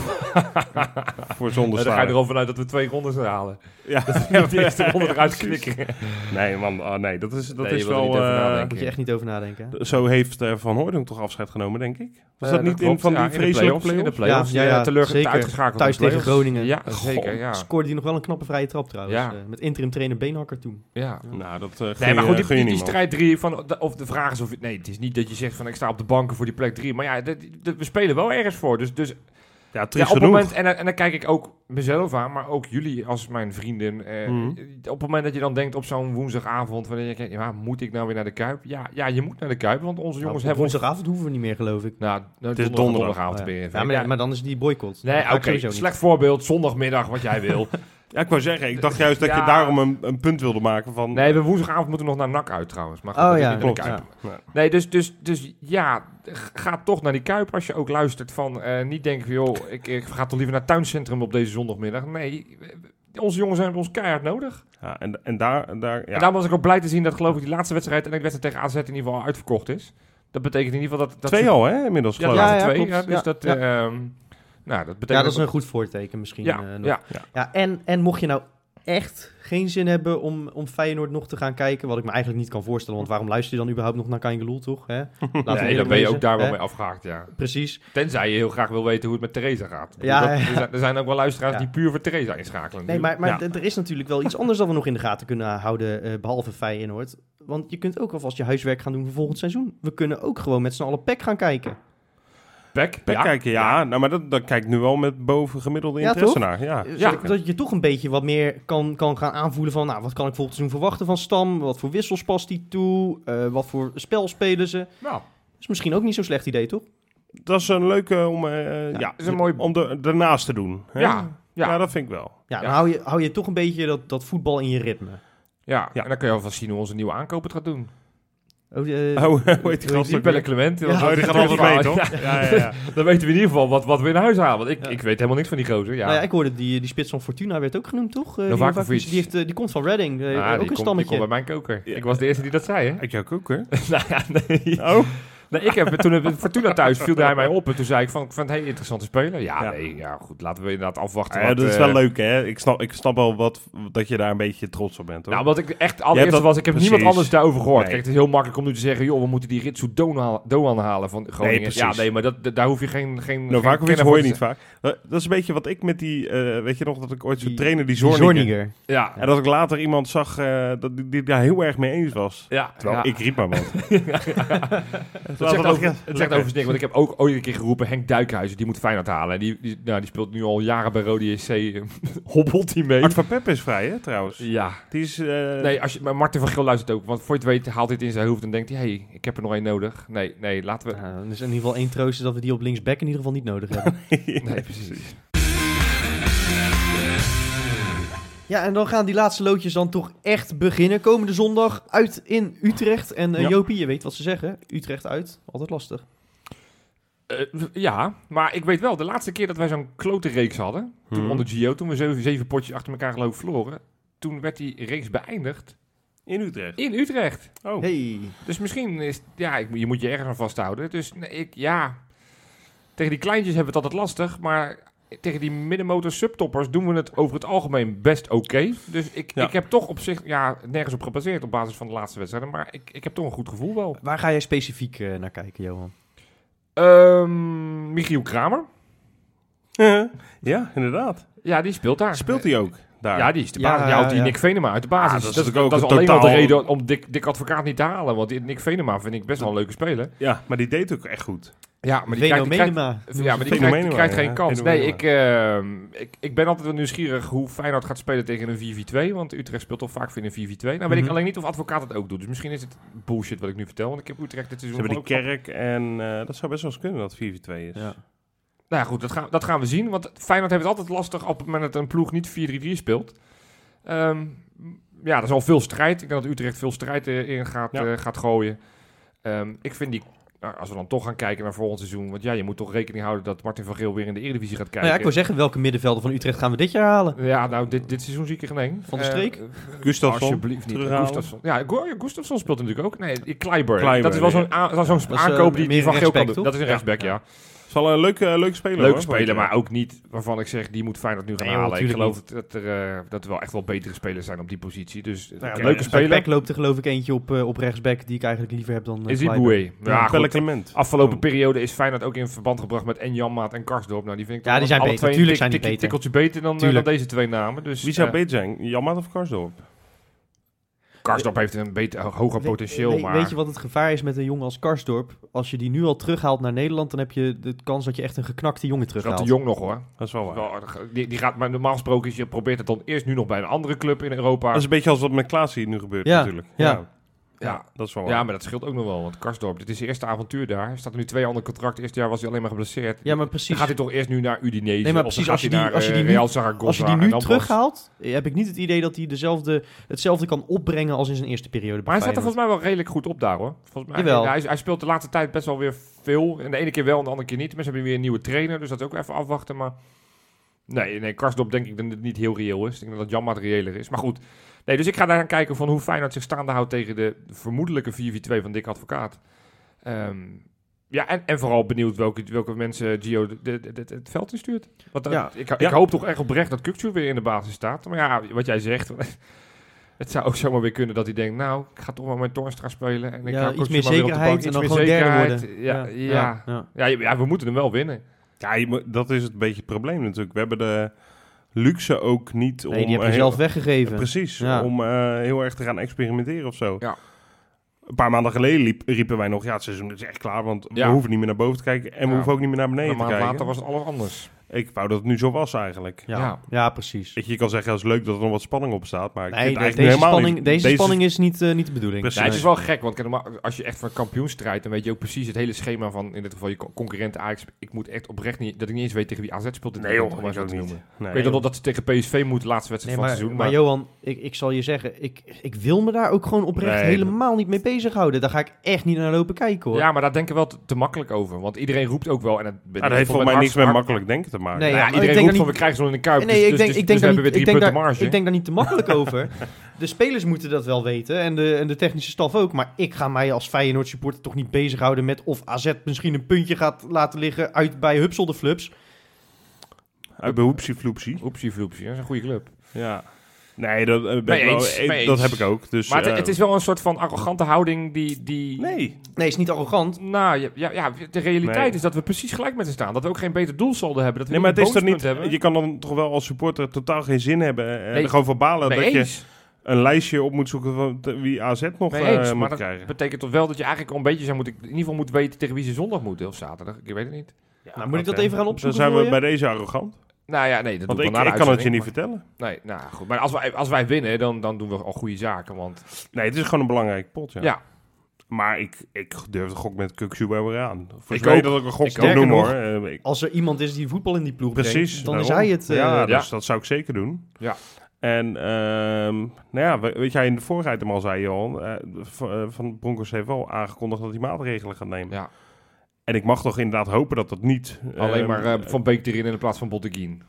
[SPEAKER 4] voor zonder
[SPEAKER 3] dan ga je er al vanuit dat we twee rondes halen.
[SPEAKER 4] Ja,
[SPEAKER 3] Ja, de eerste ronde eruit knikken.
[SPEAKER 4] Nee, man, ah, nee, dat is, dat
[SPEAKER 3] Nee, je
[SPEAKER 4] is
[SPEAKER 3] wil er
[SPEAKER 4] wel.
[SPEAKER 3] niet over
[SPEAKER 4] eh,
[SPEAKER 3] nadenken.
[SPEAKER 2] Moet je echt niet over nadenken. hè?
[SPEAKER 4] zo heeft eh, Van Hooydonk toch afscheid genomen, denk ik? Was
[SPEAKER 3] Eh,
[SPEAKER 4] dat niet in
[SPEAKER 3] klopt,
[SPEAKER 4] van
[SPEAKER 3] ja,
[SPEAKER 4] die
[SPEAKER 3] in de
[SPEAKER 4] vreselijke
[SPEAKER 3] play-offs, in
[SPEAKER 4] play-offs?
[SPEAKER 3] de play-offs.
[SPEAKER 2] Ja, ja, ja,
[SPEAKER 3] teleurge-
[SPEAKER 2] zeker.
[SPEAKER 3] uitgeschakeld
[SPEAKER 2] Thuis
[SPEAKER 3] in de
[SPEAKER 2] tegen
[SPEAKER 3] play-offs.
[SPEAKER 2] Groningen.
[SPEAKER 3] Ja, zeker,
[SPEAKER 2] God,
[SPEAKER 3] ja.
[SPEAKER 2] Scoorde hij nog wel een knappe vrije trap trouwens.
[SPEAKER 3] Ja.
[SPEAKER 2] eh, met interim trainer Beenhakker toen.
[SPEAKER 3] ja.
[SPEAKER 4] Nou, dat eh
[SPEAKER 3] Nee, maar goed, die,
[SPEAKER 4] gun je
[SPEAKER 3] die, die
[SPEAKER 4] niemand.
[SPEAKER 3] strijd 3 van... de- Of de vraag is of... je- Nee, het is niet dat je zegt van ik sta op de banken voor die plek 3. Maar ja, dat- dat- we spelen wel ergens voor. Dus, dus
[SPEAKER 4] Ja,
[SPEAKER 3] Ja,
[SPEAKER 4] triest
[SPEAKER 3] op het
[SPEAKER 4] genoeg.
[SPEAKER 3] moment, en, dan- en dan kijk ik ook mezelf aan, maar ook jullie als mijn vrienden. eh,
[SPEAKER 4] Mhm.
[SPEAKER 3] Op het moment dat je dan denkt op zo'n woensdagavond, wanneer je denkt, ja, moet ik nou weer naar de Kuip? Ja, ja je moet naar de Kuip, want onze jongens
[SPEAKER 2] Nou, op
[SPEAKER 3] hebben ons...
[SPEAKER 2] woensdagavond hoeven we niet meer, geloof ik.
[SPEAKER 3] Nou, nou,
[SPEAKER 4] Het is
[SPEAKER 3] donderdag,
[SPEAKER 4] donderdag.
[SPEAKER 3] donderdagavond
[SPEAKER 2] Oh,
[SPEAKER 3] ben je
[SPEAKER 2] ja.
[SPEAKER 3] in
[SPEAKER 2] Ja, maar,
[SPEAKER 3] feite.
[SPEAKER 2] maar dan is die boycott. Dat ga
[SPEAKER 3] Nee,
[SPEAKER 2] ik
[SPEAKER 3] oké,
[SPEAKER 2] sowieso niet.
[SPEAKER 3] slecht voorbeeld, zondagmiddag, wat jij wil.
[SPEAKER 4] Ja, ik wou zeggen, ik dacht juist dat
[SPEAKER 3] Ja.
[SPEAKER 4] je daarom een, een punt wilde maken van...
[SPEAKER 3] nee, we woensdagavond moeten nog naar NAC uit trouwens. Maar goed,
[SPEAKER 2] Oh
[SPEAKER 3] dat is
[SPEAKER 2] ja,
[SPEAKER 3] niet naar de
[SPEAKER 4] klopt.
[SPEAKER 3] Kuip.
[SPEAKER 4] Ja. Nee.
[SPEAKER 3] Nee, dus, dus, dus ja, g- ga toch naar die Kuip als je ook luistert van... eh, niet denken van, joh, ik, ik ga toch liever naar het tuincentrum op deze zondagmiddag. Nee, we- onze jongens hebben ons keihard nodig.
[SPEAKER 4] Ja, en, en daar... daar ja.
[SPEAKER 3] En daarom was ik ook blij te zien dat geloof ik die laatste wedstrijd en ik wedstrijd tegen AZ in ieder geval uitverkocht is. Dat betekent in ieder geval dat... dat
[SPEAKER 4] Twee al, hè, inmiddels
[SPEAKER 3] Ja, de
[SPEAKER 4] geloof
[SPEAKER 2] ja,
[SPEAKER 4] ik.
[SPEAKER 3] laatste twee.
[SPEAKER 2] klopt.
[SPEAKER 3] ja, dus
[SPEAKER 2] Ja,
[SPEAKER 3] dat...
[SPEAKER 2] ja.
[SPEAKER 3] ehm, nou, dat betekent...
[SPEAKER 2] Ja, dat is een goed voorteken misschien.
[SPEAKER 3] Ja,
[SPEAKER 2] eh, nog.
[SPEAKER 3] ja.
[SPEAKER 2] Ja, en, en mocht je nou echt geen zin hebben om, om Feyenoord nog te gaan kijken, wat ik me eigenlijk niet kan voorstellen, want waarom luister je dan überhaupt nog naar Kangeloel, toch? Hè? Laten we
[SPEAKER 3] Nee,
[SPEAKER 2] eerlijk
[SPEAKER 3] dan ben je
[SPEAKER 2] wezen,
[SPEAKER 3] ook daar wel
[SPEAKER 2] hè?
[SPEAKER 3] mee afgehaakt, ja.
[SPEAKER 2] Precies.
[SPEAKER 3] Tenzij je heel graag wil weten hoe het met Theresa gaat. Ik bedoel,
[SPEAKER 2] Ja,
[SPEAKER 3] dat-
[SPEAKER 2] ja.
[SPEAKER 3] Er, zijn, er zijn ook wel luisteraars
[SPEAKER 2] Ja.
[SPEAKER 3] die puur voor Theresa inschakelen.
[SPEAKER 2] Nee, maar, maar
[SPEAKER 4] Ja.
[SPEAKER 2] d- er is natuurlijk wel iets anders dat we nog in de gaten kunnen houden, eh, behalve Feyenoord. Want je kunt ook alvast je huiswerk gaan doen voor volgend seizoen. We kunnen ook gewoon met z'n allen pek gaan kijken.
[SPEAKER 3] Pek,
[SPEAKER 4] Pek kijken, ja. Nou, maar dat, dat kijkt nu wel met bovengemiddelde
[SPEAKER 2] Ja,
[SPEAKER 4] interesse
[SPEAKER 2] toch?
[SPEAKER 4] naar. Ja.
[SPEAKER 2] Eh,
[SPEAKER 3] Ja.
[SPEAKER 2] zodat- Dat je toch een beetje wat meer kan, kan gaan aanvoelen van, nou, wat kan ik volgend seizoen verwachten van Stam? Wat voor wissels past hij toe? Eh, wat voor spel spelen ze?
[SPEAKER 3] Nou,
[SPEAKER 2] is misschien ook niet zo'n slecht idee, toch?
[SPEAKER 4] Dat is een leuke om, eh, ja,
[SPEAKER 3] is een mooi-
[SPEAKER 4] om de, daarnaast te doen. Hè?
[SPEAKER 3] ja, ja,
[SPEAKER 4] ja,
[SPEAKER 3] ja.
[SPEAKER 4] dat vind ik wel.
[SPEAKER 2] Ja, dan
[SPEAKER 3] Ja.
[SPEAKER 2] Hou, je, hou je toch een beetje dat, dat voetbal in je ritme.
[SPEAKER 3] En dan kun je alvast zien hoe onze nieuwe aankoop het gaat doen.
[SPEAKER 2] Oh,
[SPEAKER 4] Oh,
[SPEAKER 2] eh,
[SPEAKER 4] hoe heet die
[SPEAKER 2] wil je
[SPEAKER 4] gast
[SPEAKER 3] Die
[SPEAKER 4] ook weer?
[SPEAKER 3] Pelle Clement.
[SPEAKER 2] Ja.
[SPEAKER 4] Oh, die gaat altijd mee, toch? Ja, ja, ja.
[SPEAKER 3] Dan weten we in ieder geval wat, wat we in huis halen. Want ik,
[SPEAKER 2] Ja.
[SPEAKER 3] ik weet helemaal niks van die gozer. Ja.
[SPEAKER 2] Nou ja, ik hoorde die, die spits van Fortuna werd ook genoemd, toch? Eh,
[SPEAKER 3] Novakovic.
[SPEAKER 2] Novakovic, Die, heeft, eh, die komt van Reading, eh,
[SPEAKER 3] Ah,
[SPEAKER 2] ook
[SPEAKER 3] die
[SPEAKER 2] een
[SPEAKER 3] komt, die
[SPEAKER 2] stammetje.
[SPEAKER 3] komt bij mijn koker.
[SPEAKER 4] Ja.
[SPEAKER 3] Ik was de eerste die dat zei, hè?
[SPEAKER 4] Uit jouw koker?
[SPEAKER 3] nou ja, nee.
[SPEAKER 4] Oh,
[SPEAKER 3] Nee, ik heb, toen het Fortuna thuis viel hij mij op en toen zei ik van, ik vind het een heel interessante speler. Ja,
[SPEAKER 4] Ja.
[SPEAKER 3] Nee, ja goed, laten we inderdaad afwachten.
[SPEAKER 4] Ja,
[SPEAKER 3] wat,
[SPEAKER 4] dat is
[SPEAKER 3] eh,
[SPEAKER 4] wel leuk, hè? Ik snap, ik snap wel wat, dat je daar een beetje trots op bent, hoor.
[SPEAKER 3] Nou, wat ik echt allereerst
[SPEAKER 4] dat-
[SPEAKER 3] was, ik heb niemand
[SPEAKER 4] precies.
[SPEAKER 3] anders daarover gehoord.
[SPEAKER 4] Nee.
[SPEAKER 3] Kijk, het is heel makkelijk om nu te zeggen, joh, we moeten die Ritsu Doan, Doan halen van Groningen.
[SPEAKER 4] precies.
[SPEAKER 3] ja, nee, maar dat, dat- daar hoef je geen... geen geen
[SPEAKER 4] Novakovic
[SPEAKER 3] kenner
[SPEAKER 4] hoor je
[SPEAKER 3] voor
[SPEAKER 4] niet
[SPEAKER 3] te
[SPEAKER 4] Nou, vaak. Eh, Dat is een beetje wat ik met die... eh, weet je nog dat ik ooit zo'n
[SPEAKER 2] Die-
[SPEAKER 4] trainer, die
[SPEAKER 2] Zorniger.
[SPEAKER 4] Zorniger...
[SPEAKER 3] zijn. Ja,
[SPEAKER 4] En dat ik later iemand zag eh, dat, die, die daar heel erg mee eens was.
[SPEAKER 3] ja.
[SPEAKER 4] Terwijl
[SPEAKER 3] ja.
[SPEAKER 4] ik riep maar wat.
[SPEAKER 3] Het
[SPEAKER 4] Laat
[SPEAKER 3] zegt,
[SPEAKER 4] dat
[SPEAKER 3] over,
[SPEAKER 4] ook-
[SPEAKER 3] het zegt
[SPEAKER 4] lekker.
[SPEAKER 3] overigens niks, want ik heb ook ooit een keer geroepen... Henk Duikhuizen, die moet Feyenoord halen. En die, die, nou, die speelt nu al jaren bij Rode JC. Hobbelt hij mee?
[SPEAKER 4] Art van Pep is vrij, hè, trouwens.
[SPEAKER 3] Ja.
[SPEAKER 4] Die is... eh,
[SPEAKER 3] Nee, als je, maar Martin van Geel luistert ook. Want voor je het weet haalt dit in zijn hoofd en denkt hij... hey, ik heb er nog één nodig. Nee, nee, laten we...
[SPEAKER 2] Ja, Nou, dan is in ieder geval één troost is dat we die op linksback in ieder geval niet nodig hebben.
[SPEAKER 3] Nee, precies.
[SPEAKER 2] ja, en dan gaan die laatste loodjes dan toch echt beginnen. Komende zondag uit in Utrecht. En eh,
[SPEAKER 4] Ja.
[SPEAKER 2] Jopie, je weet wat ze zeggen. Utrecht uit, altijd lastig.
[SPEAKER 3] Eh, ja, maar ik weet wel, de laatste keer dat wij zo'n klote reeks hadden... Toen
[SPEAKER 4] Hmm.
[SPEAKER 3] onder Gio, toen we zeven, zeven potjes achter elkaar geloof ik verloren... Toen werd die reeks beëindigd
[SPEAKER 4] In Utrecht.
[SPEAKER 3] in Utrecht.
[SPEAKER 4] Oh.
[SPEAKER 2] Hey.
[SPEAKER 3] Dus misschien is... Ja, ik, je moet je ergens aan vasthouden. Dus nee, ik, ja... Tegen die kleintjes hebben we het altijd lastig, maar... Tegen die middenmotor subtoppers doen we het over het algemeen best oké. Dus ik,
[SPEAKER 4] Ja.
[SPEAKER 3] ik heb toch op zich ja, nergens op gebaseerd op basis van de laatste wedstrijden. Maar ik, ik heb toch een goed gevoel wel.
[SPEAKER 2] Waar ga jij specifiek eh, naar kijken, Johan?
[SPEAKER 3] Ehm, Michiel Kramer.
[SPEAKER 4] ja, inderdaad.
[SPEAKER 3] Ja, die speelt daar.
[SPEAKER 4] Speelt hij ook daar?
[SPEAKER 3] Ja, die is de
[SPEAKER 2] Ja,
[SPEAKER 3] basis. die houdt die
[SPEAKER 2] ja.
[SPEAKER 3] Nick Venema uit de basis.
[SPEAKER 4] Ah, dat
[SPEAKER 3] dat,
[SPEAKER 4] is
[SPEAKER 3] is,
[SPEAKER 4] natuurlijk ook
[SPEAKER 3] dat
[SPEAKER 4] een
[SPEAKER 3] is alleen al de
[SPEAKER 4] totaal-
[SPEAKER 3] reden om Dick, Dick Advocaat niet te halen. Want die Nick Venema vind ik best wel een leuke speler.
[SPEAKER 4] Ja, maar die deed ook echt goed.
[SPEAKER 3] Ja, maar die
[SPEAKER 2] Veno
[SPEAKER 3] krijgt, die krijgt-
[SPEAKER 2] Menema.
[SPEAKER 3] ja, maar die
[SPEAKER 4] Fenomenen
[SPEAKER 3] krijgt, die krijgt
[SPEAKER 4] waren, ja.
[SPEAKER 3] geen kans. Nee, ik,
[SPEAKER 4] Fenomenen
[SPEAKER 3] ehm, ik, ik ben altijd wel nieuwsgierig hoe Feyenoord gaat spelen tegen een 4-4-2. Want Utrecht speelt toch vaak weer een 4-4-2. Nou weet ik
[SPEAKER 2] Mhm.
[SPEAKER 3] alleen niet of Advocaat dat ook doet. Dus misschien is het bullshit wat ik nu vertel. Want ik heb Utrecht dit
[SPEAKER 4] Ze
[SPEAKER 3] seizoen
[SPEAKER 4] hebben die
[SPEAKER 3] ook al-
[SPEAKER 4] kerk en eh, dat zou best wel eens kunnen dat 4-4-2 is.
[SPEAKER 2] Ja.
[SPEAKER 3] Nou ja, goed, dat gaan, dat gaan we zien. Want Feyenoord heeft het altijd lastig op het moment dat een ploeg niet 4-3-3 speelt. Ehm, ja, er is al veel strijd. Ik denk dat Utrecht veel strijd eh, in gaat,
[SPEAKER 4] Ja.
[SPEAKER 3] eh, gaat gooien. Ehm, ik vind die... nou, Als we dan toch gaan kijken naar volgend seizoen. Want ja, je moet toch rekening houden dat Martin van Geel weer in de Eredivisie gaat
[SPEAKER 2] Nou ja,
[SPEAKER 3] kijken.
[SPEAKER 2] ik wil zeggen, welke middenvelden van Utrecht gaan we dit jaar halen?
[SPEAKER 3] Ja, nou, dit, dit seizoen zie ik er geen één.
[SPEAKER 2] Van de
[SPEAKER 3] Eh,
[SPEAKER 2] Streek?
[SPEAKER 3] eh,
[SPEAKER 4] Gustafsson,
[SPEAKER 3] Alsjeblieft niet.
[SPEAKER 4] terughalen.
[SPEAKER 3] Gustafsson. Ja, Go- ja, Gustafsson speelt er natuurlijk ook. Nee, Kleiber.
[SPEAKER 4] Kleiber,
[SPEAKER 3] dat is wel
[SPEAKER 4] ja.
[SPEAKER 3] zo'n, aan- dat is wel zo'n
[SPEAKER 2] Dat is, eh,
[SPEAKER 3] aankoop die, die
[SPEAKER 2] meer
[SPEAKER 3] Van Geel kan
[SPEAKER 2] rechtsback,
[SPEAKER 3] doen.
[SPEAKER 2] toch?
[SPEAKER 3] Dat is een
[SPEAKER 4] Ja.
[SPEAKER 3] rechtsback, ja.
[SPEAKER 4] Het is wel een leuke, eh, leuke speler
[SPEAKER 3] Leuk
[SPEAKER 4] hoor,
[SPEAKER 3] spelen,
[SPEAKER 4] vond ik,
[SPEAKER 3] maar ook niet waarvan ik zeg, die moet Feyenoord nu gaan
[SPEAKER 2] Nee, joh,
[SPEAKER 3] halen. Ik
[SPEAKER 2] natuurlijk
[SPEAKER 3] geloof dat er, eh, dat er wel echt wel betere spelers zijn op die positie. Dus
[SPEAKER 2] Nou
[SPEAKER 3] eh,
[SPEAKER 4] ja,
[SPEAKER 3] een
[SPEAKER 4] nee,
[SPEAKER 3] leuke
[SPEAKER 4] dus
[SPEAKER 2] Bij
[SPEAKER 3] speler
[SPEAKER 2] Peck loopt er geloof ik eentje op, eh, op rechtsback die ik eigenlijk liever heb dan eh,
[SPEAKER 3] is
[SPEAKER 2] Kleiber.
[SPEAKER 3] Ibue. Ja,
[SPEAKER 4] Ja, Pelle
[SPEAKER 3] goed.
[SPEAKER 4] Clement.
[SPEAKER 3] Afgelopen
[SPEAKER 4] Oh.
[SPEAKER 3] periode is Feyenoord ook in verband gebracht met en Janmaat en Karsdorp. Nou, die vind ik
[SPEAKER 2] Ja, die zijn
[SPEAKER 3] alle
[SPEAKER 2] beter.
[SPEAKER 3] twee
[SPEAKER 2] Tuurlijk
[SPEAKER 3] een tik-
[SPEAKER 2] zijn die
[SPEAKER 3] tik- tikkeltje beter dan, eh,
[SPEAKER 2] Tuurlijk.
[SPEAKER 3] dan deze twee namen. Dus,
[SPEAKER 4] Wie zou
[SPEAKER 3] eh,
[SPEAKER 4] beter zijn? Jammaat of Karsdorp?
[SPEAKER 3] Karsdorp heeft een beter, hoger
[SPEAKER 2] We-
[SPEAKER 3] potentieel,
[SPEAKER 2] we-
[SPEAKER 3] maar...
[SPEAKER 2] Weet je wat het gevaar is met een jongen als Karsdorp? Als je die nu al terughaalt naar Nederland, dan heb je de kans dat je echt een geknakte jongen
[SPEAKER 3] is dat
[SPEAKER 2] terughaalt.
[SPEAKER 3] te jong nog hoor.
[SPEAKER 4] Dat is wel waar.
[SPEAKER 3] Dus Wel, Die, die gaat, maar normaal gesproken is je probeert het dan eerst nu nog bij een andere club in Europa.
[SPEAKER 4] Dat is een beetje als wat met Klaas hier nu gebeurt
[SPEAKER 2] Ja,
[SPEAKER 4] natuurlijk.
[SPEAKER 2] ja.
[SPEAKER 3] ja,
[SPEAKER 4] dat is wel waar.
[SPEAKER 3] Ja, maar dat scheelt ook nog wel. Want Karsdorp, dit is zijn eerste avontuur daar. Hij staat er nu twee jaar onder contract. Eerste jaar was hij alleen maar geblesseerd.
[SPEAKER 2] Ja, maar
[SPEAKER 3] Dan
[SPEAKER 2] precies.
[SPEAKER 3] gaat hij toch eerst nu naar
[SPEAKER 2] Nee,
[SPEAKER 3] Udinese?
[SPEAKER 2] maar
[SPEAKER 3] of dan
[SPEAKER 2] precies,
[SPEAKER 3] gaat
[SPEAKER 2] als je
[SPEAKER 3] hij
[SPEAKER 2] die-
[SPEAKER 3] naar,
[SPEAKER 2] als je
[SPEAKER 3] eh,
[SPEAKER 2] die
[SPEAKER 3] Real
[SPEAKER 2] nu-
[SPEAKER 3] Zaragoza
[SPEAKER 2] Als je die
[SPEAKER 3] en
[SPEAKER 2] nu
[SPEAKER 3] dan pas.
[SPEAKER 2] terughaalt, eh, heb ik niet het idee dat hij dezelfde, hetzelfde kan opbrengen als in zijn eerste periode. bij
[SPEAKER 3] Maar hij staat er
[SPEAKER 2] Feyenoord.
[SPEAKER 3] volgens mij wel redelijk goed op daar hoor. Volgens mij,
[SPEAKER 2] Jawel.
[SPEAKER 3] hij, hij speelt de laatste tijd best wel weer veel. En de ene keer wel en de andere keer niet. Mensen hebben weer een nieuwe trainer, dus dat is ook even afwachten. Maar nee, nee Karsdorp denk ik dat het niet heel reëel is. Ik denk dat Janmaat reëler is. Maar goed, nee, dus ik ga daar aan kijken van hoe Feyenoord zich staande houdt tegen de vermoedelijke 4-4-2 van Dick Advocaat. Ehm, ja, en, en vooral benieuwd welke, welke mensen Gio de- de- de- de- het veld instuurt. Want eh,
[SPEAKER 2] Ja.
[SPEAKER 3] ik, ik
[SPEAKER 4] Ja.
[SPEAKER 3] hoop toch echt oprecht dat Kukcu weer in de basis staat. Maar ja, wat jij zegt, het zou ook zomaar weer kunnen dat hij denkt, nou, ik ga toch maar met Torstra spelen. En ik
[SPEAKER 2] Ja,
[SPEAKER 3] ga
[SPEAKER 2] iets
[SPEAKER 3] Kotsu
[SPEAKER 2] meer
[SPEAKER 3] maar weer op de
[SPEAKER 2] zekerheid
[SPEAKER 3] bank.
[SPEAKER 2] en
[SPEAKER 3] Iets
[SPEAKER 2] dan
[SPEAKER 3] meer
[SPEAKER 2] gewoon derde
[SPEAKER 3] zekerheid.
[SPEAKER 2] worden.
[SPEAKER 3] Ja, ja.
[SPEAKER 2] ja.
[SPEAKER 3] Ja, je- ja, we moeten hem wel winnen.
[SPEAKER 4] Ja, je moet- dat is het beetje het probleem natuurlijk. We hebben de luxe ook niet om...
[SPEAKER 2] Nee, die heb
[SPEAKER 4] eh,
[SPEAKER 2] je
[SPEAKER 4] heel-
[SPEAKER 2] zelf weggegeven.
[SPEAKER 4] Precies,
[SPEAKER 2] Ja.
[SPEAKER 4] om eh, heel erg te gaan experimenteren of zo.
[SPEAKER 3] Ja.
[SPEAKER 4] Een paar maanden geleden liep- riepen wij nog, ja, het seizoen is echt klaar, want
[SPEAKER 3] Ja.
[SPEAKER 4] we hoeven niet meer naar boven te kijken en we
[SPEAKER 3] Ja.
[SPEAKER 4] hoeven ook niet meer naar beneden
[SPEAKER 3] een
[SPEAKER 4] te
[SPEAKER 3] maand
[SPEAKER 4] kijken.
[SPEAKER 3] later was het alles anders.
[SPEAKER 4] Ik wou dat het nu zo was eigenlijk.
[SPEAKER 2] ja.
[SPEAKER 3] ja.
[SPEAKER 2] Ja. ja, precies.
[SPEAKER 4] Weet je, je kan zeggen, het is leuk dat er nog wat spanning op staat, maar ik
[SPEAKER 2] Nee,
[SPEAKER 4] vind het
[SPEAKER 2] deze,
[SPEAKER 4] eigenlijk helemaal
[SPEAKER 2] spanning,
[SPEAKER 4] niet.
[SPEAKER 2] deze, spanning is niet, eh, niet de bedoeling.
[SPEAKER 4] Precies.
[SPEAKER 3] Nee, het is
[SPEAKER 2] Nee.
[SPEAKER 3] wel gek, want kijk, normaal- als je echt voor een kampioen strijdt, dan weet je ook precies het hele schema van, in dit geval, je co- concurrent Ajax. Ik moet echt oprecht niet, dat ik niet eens weet tegen wie AZ speelt.
[SPEAKER 4] Nee
[SPEAKER 3] dit weekend,
[SPEAKER 4] joh,
[SPEAKER 3] om maar
[SPEAKER 4] ik
[SPEAKER 3] zo
[SPEAKER 4] ook
[SPEAKER 3] te
[SPEAKER 4] niet.
[SPEAKER 3] noemen.
[SPEAKER 4] Nee,
[SPEAKER 3] Ik weet wel
[SPEAKER 4] joh.
[SPEAKER 3] dat ze tegen PSV moet, de laatste wedstrijd
[SPEAKER 2] Nee,
[SPEAKER 3] van
[SPEAKER 2] maar,
[SPEAKER 3] het seizoen.
[SPEAKER 2] maar
[SPEAKER 3] Maar,
[SPEAKER 2] Johan, ik, ik zal je zeggen, ik, ik wil me daar ook gewoon oprecht
[SPEAKER 4] Nee,
[SPEAKER 2] helemaal niet mee bezighouden. Daar ga ik echt niet naar lopen kijken hoor.
[SPEAKER 3] ja, maar daar denken we wel te, te makkelijk over. Want iedereen roept ook wel. En het,
[SPEAKER 4] Ja, dat heeft volgens mij niks
[SPEAKER 3] met
[SPEAKER 4] met
[SPEAKER 3] Ars-
[SPEAKER 4] makkelijk denken te maken.
[SPEAKER 2] Nee,
[SPEAKER 3] Nou
[SPEAKER 2] Ja,
[SPEAKER 3] ja,
[SPEAKER 2] maar ik
[SPEAKER 3] iedereen
[SPEAKER 2] denk dat
[SPEAKER 3] roept van,
[SPEAKER 4] Oh,
[SPEAKER 2] niet-
[SPEAKER 3] we krijgen ze wel in de kuip.
[SPEAKER 2] Nee,
[SPEAKER 3] dus,
[SPEAKER 2] ik denk,
[SPEAKER 3] dus,
[SPEAKER 2] ik denk
[SPEAKER 3] dus
[SPEAKER 2] daar
[SPEAKER 3] we hebben
[SPEAKER 2] niet,
[SPEAKER 3] weer
[SPEAKER 2] ik
[SPEAKER 3] drie
[SPEAKER 2] denk
[SPEAKER 3] punten
[SPEAKER 2] daar-
[SPEAKER 3] marge.
[SPEAKER 2] ik denk daar niet te makkelijk over. de spelers moeten dat wel weten en de, en de technische staf ook. Maar ik ga mij als Feyenoord supporter toch niet bezighouden met of AZ misschien een puntje gaat laten liggen uit bij Hupsel de Flups.
[SPEAKER 4] Uit bij Hoepsie Floepsie.
[SPEAKER 3] Oepsie vloepsie, dat is een goede club.
[SPEAKER 4] Ja. Nee, dat, eh, ben
[SPEAKER 3] Mee
[SPEAKER 4] ik wel-
[SPEAKER 3] eens,
[SPEAKER 4] eh,
[SPEAKER 3] mee
[SPEAKER 4] dat
[SPEAKER 3] eens.
[SPEAKER 4] heb ik ook. Dus,
[SPEAKER 3] Maar het,
[SPEAKER 4] eh,
[SPEAKER 3] het is wel een soort van arrogante houding die... die
[SPEAKER 4] Nee.
[SPEAKER 2] Nee, is niet arrogant.
[SPEAKER 3] Nou, ja, ja, ja, de realiteit
[SPEAKER 4] Nee.
[SPEAKER 3] is dat we precies gelijk met ze staan. Dat we ook geen beter doelsaldo hebben. Dat we
[SPEAKER 4] Nee, maar het
[SPEAKER 3] een
[SPEAKER 4] is toch niet...
[SPEAKER 3] bonuspunt hebben.
[SPEAKER 4] Je kan dan toch wel als supporter totaal geen zin hebben. eh, En
[SPEAKER 3] Nee.
[SPEAKER 4] er gewoon van balen
[SPEAKER 3] Mee
[SPEAKER 4] dat je
[SPEAKER 3] eens.
[SPEAKER 4] een lijstje op moet zoeken van te- wie AZ nog
[SPEAKER 3] Mee
[SPEAKER 4] eh,
[SPEAKER 3] eens,
[SPEAKER 4] moet
[SPEAKER 3] maar dat
[SPEAKER 4] krijgen.
[SPEAKER 3] betekent toch wel dat je eigenlijk al een beetje zou moeten... In ieder geval moet weten tegen wie ze zondag moeten. Of zaterdag, ik weet het niet.
[SPEAKER 2] nou, moet ik dat even gaan opzoeken
[SPEAKER 4] Dan zijn
[SPEAKER 2] voor
[SPEAKER 4] we
[SPEAKER 2] je?
[SPEAKER 4] bij deze arrogant.
[SPEAKER 3] Nou ja, nee, dat
[SPEAKER 4] Want
[SPEAKER 3] doe
[SPEAKER 4] ik,
[SPEAKER 3] ik, wel na de
[SPEAKER 4] ik kan het je
[SPEAKER 3] uitzending,
[SPEAKER 4] niet
[SPEAKER 3] maar-
[SPEAKER 4] vertellen.
[SPEAKER 3] Nee, nou goed. Maar als wij, als wij winnen, dan, dan doen we al goede zaken. Want
[SPEAKER 4] Nee, het is gewoon een belangrijk pot, ja.
[SPEAKER 3] Ja.
[SPEAKER 4] Maar ik, ik durf de gok met Kukzu wel weer aan. Voor
[SPEAKER 3] Ik
[SPEAKER 4] zover
[SPEAKER 3] ook.
[SPEAKER 4] dat ik een gok
[SPEAKER 3] Ik
[SPEAKER 4] kan
[SPEAKER 2] ook.
[SPEAKER 4] noemen, hoor.
[SPEAKER 2] Sterker
[SPEAKER 4] Eh, ik-
[SPEAKER 2] Als er iemand is die voetbal in die ploeg
[SPEAKER 4] Precies.
[SPEAKER 2] brengt, dan is
[SPEAKER 4] daarom.
[SPEAKER 2] hij het. eh,
[SPEAKER 4] ja,
[SPEAKER 3] ja.
[SPEAKER 4] dus dat zou ik zeker doen.
[SPEAKER 3] Ja.
[SPEAKER 4] En, ehm, nou ja, we- weet jij, in de vorige item al zei je al, eh, v- eh, Van Broncos heeft wel aangekondigd dat hij maatregelen gaat nemen.
[SPEAKER 3] ja,
[SPEAKER 4] En ik mag toch inderdaad hopen dat dat niet...
[SPEAKER 3] alleen
[SPEAKER 4] ehm,
[SPEAKER 3] maar eh, Van Beek erin in de plaats van Botteguin.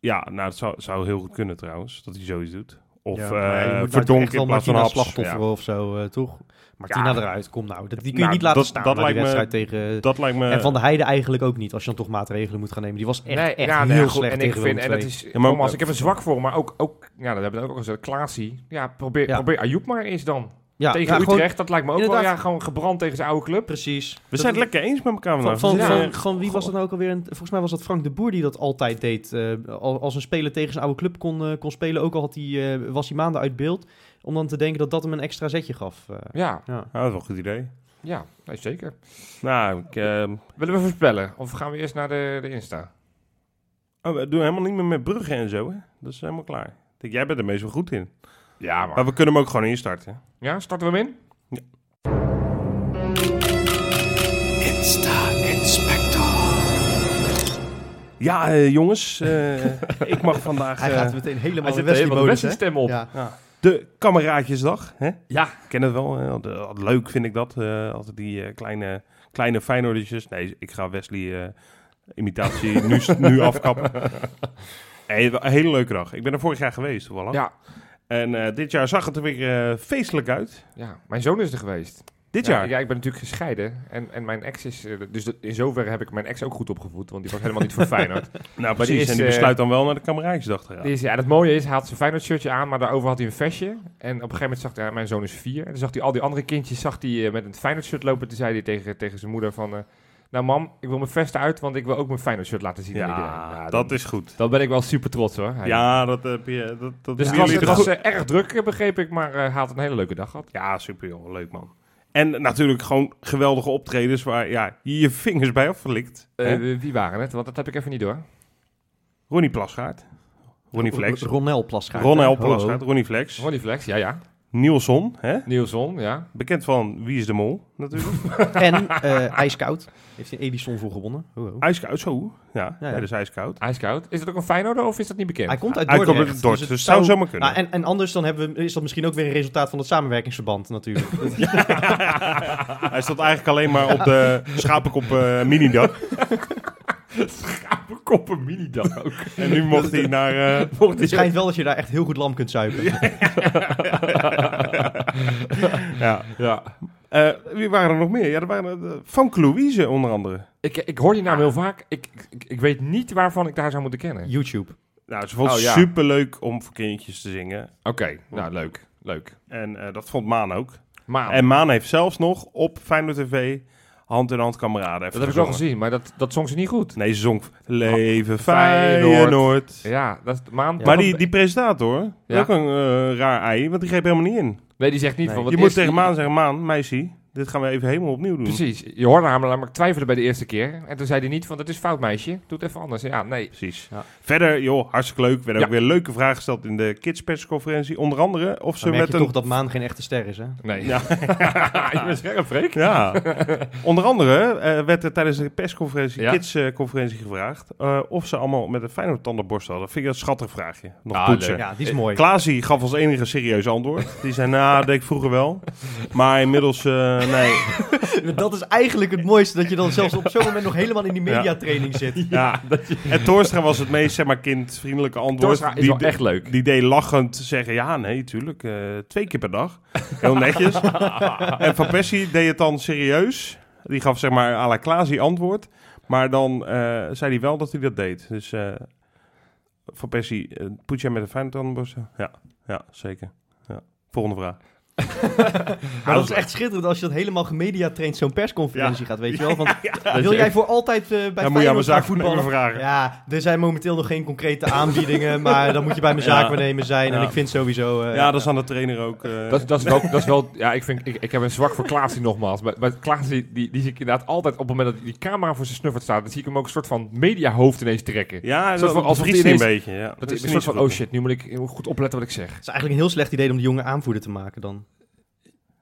[SPEAKER 4] Ja, nou, het zou, zou heel goed kunnen trouwens, dat hij zoiets doet. Of
[SPEAKER 2] Ja,
[SPEAKER 4] eh
[SPEAKER 2] maar je moet nou toch
[SPEAKER 4] verdonk
[SPEAKER 2] echt wel
[SPEAKER 4] in plaats van
[SPEAKER 2] Martina
[SPEAKER 4] haps.
[SPEAKER 2] slachtoffer
[SPEAKER 4] Ja.
[SPEAKER 2] of zo, eh, toch? Martina
[SPEAKER 4] Ja.
[SPEAKER 2] eruit, kom nou. Dat, die kun je
[SPEAKER 4] Nou,
[SPEAKER 2] niet laten
[SPEAKER 4] dat-
[SPEAKER 2] staan
[SPEAKER 4] dat
[SPEAKER 2] bij de
[SPEAKER 4] lijkt me-
[SPEAKER 2] wedstrijd tegen...
[SPEAKER 4] Dat lijkt me...
[SPEAKER 2] en Van de Heide eigenlijk ook niet, als je dan toch maatregelen moet gaan nemen. Die was echt, echt
[SPEAKER 3] ja,
[SPEAKER 2] heel
[SPEAKER 3] nee, goed,
[SPEAKER 2] slecht
[SPEAKER 3] en ik
[SPEAKER 2] tegen
[SPEAKER 3] vind,
[SPEAKER 2] Willem
[SPEAKER 3] en
[SPEAKER 2] II.
[SPEAKER 3] dat is,
[SPEAKER 4] maar ook-
[SPEAKER 3] nogmaals, ik heb een zwak voor, maar ook, ook ja, dat hebben we ook al gezegd, Klaasie. Ja, probeer,
[SPEAKER 2] Ja.
[SPEAKER 3] probeer Ayoub maar eens dan.
[SPEAKER 2] ja,
[SPEAKER 3] tegen
[SPEAKER 2] ja,
[SPEAKER 3] Utrecht,
[SPEAKER 2] gewoon-
[SPEAKER 3] dat lijkt me ook wel,
[SPEAKER 2] Inderdaad.
[SPEAKER 3] ja, gewoon gebrand tegen zijn oude club.
[SPEAKER 2] Precies.
[SPEAKER 4] we zijn het lekker eens met elkaar
[SPEAKER 2] Van,
[SPEAKER 4] vandaag.
[SPEAKER 2] van,
[SPEAKER 4] We
[SPEAKER 3] Ja.
[SPEAKER 4] zijn-
[SPEAKER 2] van, van wie was dat nou ook alweer? Een- Volgens mij was dat Frank de Boer die dat altijd deed. eh, al- als een speler tegen zijn oude club kon, eh, kon spelen, ook al had hij, eh, was hij maanden uit beeld. Om dan te denken dat dat hem een extra zetje gaf. eh.
[SPEAKER 3] Ja,
[SPEAKER 2] ja.
[SPEAKER 4] Ah, dat is wel een goed idee.
[SPEAKER 3] ja, nee, zeker.
[SPEAKER 4] Nou, ik, ehm,
[SPEAKER 3] Willen we voorspellen? Of gaan we eerst naar de, de Insta?
[SPEAKER 4] Oh, we doen helemaal niet meer met bruggen en zo, hè? Dat is helemaal klaar. Ik denk, jij bent er meestal goed in.
[SPEAKER 3] Ja,
[SPEAKER 4] Maar we kunnen hem ook gewoon instarten.
[SPEAKER 3] Ja, starten we hem in?
[SPEAKER 4] Ja, eh, jongens. eh, ik mag vandaag
[SPEAKER 2] Hij
[SPEAKER 4] eh,
[SPEAKER 2] gaat meteen helemaal
[SPEAKER 3] Hij
[SPEAKER 2] in
[SPEAKER 3] zet de hele
[SPEAKER 2] Wesley-modus, hè?
[SPEAKER 3] stem op.
[SPEAKER 2] Ja.
[SPEAKER 4] de kameraadjesdag. Hè?
[SPEAKER 3] Ja.
[SPEAKER 4] Ik ken het wel. hè? Altijd- altijd leuk vind ik dat. eh, altijd die eh, kleine, kleine Feyenoordertjes. Nee, ik ga Wesley... eh, imitatie nu, nu afkappen. Nee, een hele leuke dag. Ik ben er vorig jaar geweest, toevallig.
[SPEAKER 3] Ja.
[SPEAKER 4] En eh, dit jaar zag het er weer eh, feestelijk uit.
[SPEAKER 3] Ja, mijn zoon is er geweest.
[SPEAKER 4] Dit
[SPEAKER 3] ja,
[SPEAKER 4] jaar.
[SPEAKER 3] Ja, ik ben natuurlijk gescheiden. En, en mijn ex is... eh, Dus dat- in zoverre heb ik mijn ex ook goed opgevoed. Want die was helemaal niet voor Feyenoord.
[SPEAKER 4] Nou,
[SPEAKER 3] Maar die
[SPEAKER 4] precies.
[SPEAKER 3] is,
[SPEAKER 4] en die
[SPEAKER 3] eh,
[SPEAKER 4] besluit dan wel naar de kameraadjesdag te gaan.
[SPEAKER 3] Dus ja, en het mooie is, hij had zijn Feyenoord shirtje aan. Maar daarover had hij een vestje. En op een gegeven moment zag hij... ja, mijn zoon is vier. En dan zag hij al die andere kindjes zag hij, eh, met een Feyenoord shirt lopen. Toen zei hij tegen, tegen zijn moeder van... eh, nou mam, ik wil mijn vest uit, want ik wil ook mijn Feyenoord shirt laten zien. aan iedereen."
[SPEAKER 4] Ja,
[SPEAKER 3] Nou,
[SPEAKER 4] dat
[SPEAKER 3] dan-
[SPEAKER 4] is goed.
[SPEAKER 3] Dan ben ik wel super trots hoor. Hij-
[SPEAKER 4] Ja, dat heb je. Dat, dat
[SPEAKER 3] Dus
[SPEAKER 4] hebben
[SPEAKER 3] het was,
[SPEAKER 4] jullie
[SPEAKER 3] het
[SPEAKER 4] toch
[SPEAKER 3] was
[SPEAKER 4] goed-
[SPEAKER 3] eh, erg druk, eh, begreep ik. Maar eh, hij had een hele leuke dag gehad.
[SPEAKER 4] Ja, super joh, leuk man. En natuurlijk gewoon geweldige optredens waar ja, je je vingers bij aflikt.
[SPEAKER 3] Eh,
[SPEAKER 4] Hè?
[SPEAKER 3] wie waren het? Want dat heb ik even niet door.
[SPEAKER 4] Ronnie Plasgaard, Ronnie Flex,
[SPEAKER 2] Ronel Plasgaard.
[SPEAKER 4] Ron Help
[SPEAKER 2] Ho, ho.
[SPEAKER 4] Plasgaard, Ronnie Flex,
[SPEAKER 3] Ronnie Flex, ja ja.
[SPEAKER 4] Nielson, hè?
[SPEAKER 3] Nielson, ja.
[SPEAKER 4] bekend van Wie is de Mol natuurlijk.
[SPEAKER 2] En eh, ijskoud. Heeft hij een Edison voor gewonnen. Ho, ho.
[SPEAKER 4] ijskoud, zo. Ja,
[SPEAKER 2] Ja,
[SPEAKER 4] ja,
[SPEAKER 2] ja.
[SPEAKER 4] dat is ijskoud.
[SPEAKER 3] Ijskoud. Is dat ook een Feyenoorder of is dat niet bekend?
[SPEAKER 2] Hij komt uit
[SPEAKER 4] Hij komt
[SPEAKER 2] Dordrecht.
[SPEAKER 4] uit Dordrecht, dus het zou zomaar kunnen.
[SPEAKER 2] Nou, en, en anders dan hebben we, is dat misschien ook weer een resultaat van het samenwerkingsverband natuurlijk.
[SPEAKER 4] Hij stond eigenlijk alleen maar op de schapenkop eh minidag.
[SPEAKER 3] Schapenkop een minidag ook.
[SPEAKER 4] En nu mocht hij naar... eh,
[SPEAKER 2] het schijnt wel dat je daar echt heel goed lam kunt zuipen.
[SPEAKER 4] ja.
[SPEAKER 3] ja.
[SPEAKER 4] Eh, wie waren er nog meer? Ja, er waren eh, Frank Louise onder andere.
[SPEAKER 3] Ik, ik hoor die naam heel vaak. Ik, ik, ik weet niet waarvan ik daar zou moeten kennen. Oké,
[SPEAKER 2] YouTube.
[SPEAKER 4] Nou, ze vond het
[SPEAKER 3] Oh, ja.
[SPEAKER 4] superleuk om voor kindjes te zingen.
[SPEAKER 3] nou leuk. Leuk.
[SPEAKER 4] En eh, dat vond Maan ook.
[SPEAKER 3] Maar
[SPEAKER 4] En Maan heeft zelfs nog op Feyenoord TV hand in hand kameraden. even
[SPEAKER 3] dat heb ik wel
[SPEAKER 4] gezongen.
[SPEAKER 3] gezien, maar dat, dat zong ze niet goed.
[SPEAKER 4] Nee, ze zong Leven
[SPEAKER 3] Feyenoord.
[SPEAKER 4] Feyenoord.
[SPEAKER 3] Ja, dat is maan.
[SPEAKER 4] Maar die, die presentator, dat is
[SPEAKER 3] Ja.
[SPEAKER 4] ook een eh, raar ei, want die greep helemaal niet in.
[SPEAKER 3] Nee, die zegt niet
[SPEAKER 2] Nee.
[SPEAKER 3] van... wat
[SPEAKER 4] je moet
[SPEAKER 3] is
[SPEAKER 4] tegen
[SPEAKER 3] die-
[SPEAKER 4] Maan zeggen, Maan, meisje, dit gaan we even helemaal opnieuw doen.
[SPEAKER 3] Precies. Je hoorde haar maar, maar ik twijfelde bij de eerste keer. En toen zei hij niet van, dat is fout meisje. Doe het even anders. Ja, nee.
[SPEAKER 4] Precies.
[SPEAKER 2] Ja.
[SPEAKER 4] Verder, joh, hartstikke leuk. Er werden
[SPEAKER 3] Ja.
[SPEAKER 4] ook weer leuke vragen gesteld in de kids persconferentie. Onder andere of ze
[SPEAKER 2] Dan merk
[SPEAKER 4] met
[SPEAKER 2] je
[SPEAKER 4] een...
[SPEAKER 2] toch dat Maan geen echte ster is, hè?
[SPEAKER 3] Nee.
[SPEAKER 4] Ja.
[SPEAKER 3] je bent scherp, Freek.
[SPEAKER 4] Ja, onder andere eh, werd er tijdens de persconferentie,
[SPEAKER 3] Ja.
[SPEAKER 4] kidsconferentie gevraagd eh, of ze allemaal met een Feyenoord tandenborstel hadden. Vind ik dat een schattig vraagje. Nog
[SPEAKER 3] Ah,
[SPEAKER 4] poetsen.
[SPEAKER 3] leuk.
[SPEAKER 2] Ja, die is mooi.
[SPEAKER 4] Klaasie gaf als enige serieus antwoord. Die zei, nou, dat deed ik vroeger wel. Maar inmiddels eh, eh, nee.
[SPEAKER 2] Dat is eigenlijk het mooiste, dat je dan zelfs op zo'n moment nog helemaal in die
[SPEAKER 4] Ja.
[SPEAKER 2] mediatraining zit.
[SPEAKER 4] ja. En Torstra was het meest, zeg maar, kindvriendelijke antwoord.
[SPEAKER 3] Torstra is wel echt leuk.
[SPEAKER 4] Die deed lachend zeggen, ja, nee, tuurlijk, eh, twee keer per dag. Heel netjes. en Van Persie deed het dan serieus. Die gaf, zeg maar, à la Klaasie antwoord. Maar dan eh, zei hij wel dat hij dat deed. Dus eh, Van Persie, eh, put jij met een fijne tandenborstel? Ja, ja, zeker. Ja. Volgende vraag.
[SPEAKER 2] Maar dat is echt schitterend als je dat helemaal gemediatraind zo'n persconferentie
[SPEAKER 4] Ja.
[SPEAKER 2] gaat, weet je wel. Want
[SPEAKER 3] Dat
[SPEAKER 2] wil
[SPEAKER 3] je
[SPEAKER 2] jij
[SPEAKER 3] echt-
[SPEAKER 2] voor altijd eh, bij
[SPEAKER 4] Dan moet je aan mijn
[SPEAKER 2] Feyenoord gaan
[SPEAKER 4] zaakvoetballer
[SPEAKER 2] voetballen?
[SPEAKER 4] vragen.
[SPEAKER 2] Ja, er zijn momenteel nog geen concrete aanbiedingen, maar dan moet je bij mijn
[SPEAKER 4] Ja.
[SPEAKER 2] zaakwaarnemer zijn. En
[SPEAKER 4] Ja.
[SPEAKER 2] ik vind sowieso... eh,
[SPEAKER 4] Ja, dat is aan de trainer ook. eh,
[SPEAKER 3] Dat, dat, is wel, dat is wel, ja, ik, vind, ik, ik heb een zwak voor Klaasie nogmaals. Maar, maar Klaasie, die, die zie ik inderdaad altijd op het moment dat die camera voor zijn snuffert staat, dan zie ik hem ook een soort van mediahoofd ineens trekken.
[SPEAKER 4] ja, dat
[SPEAKER 3] soort van-
[SPEAKER 4] van,
[SPEAKER 3] alsof
[SPEAKER 4] als
[SPEAKER 3] die
[SPEAKER 4] een
[SPEAKER 3] ineens-
[SPEAKER 4] beetje. Ja.
[SPEAKER 3] Dat
[SPEAKER 4] is
[SPEAKER 3] is een
[SPEAKER 4] niet
[SPEAKER 3] soort
[SPEAKER 4] zo
[SPEAKER 3] van,
[SPEAKER 4] goed.
[SPEAKER 3] oh shit, nu moet ik goed opletten wat ik zeg.
[SPEAKER 2] Het is eigenlijk een heel slecht idee om de jonge aanvoerder te maken dan.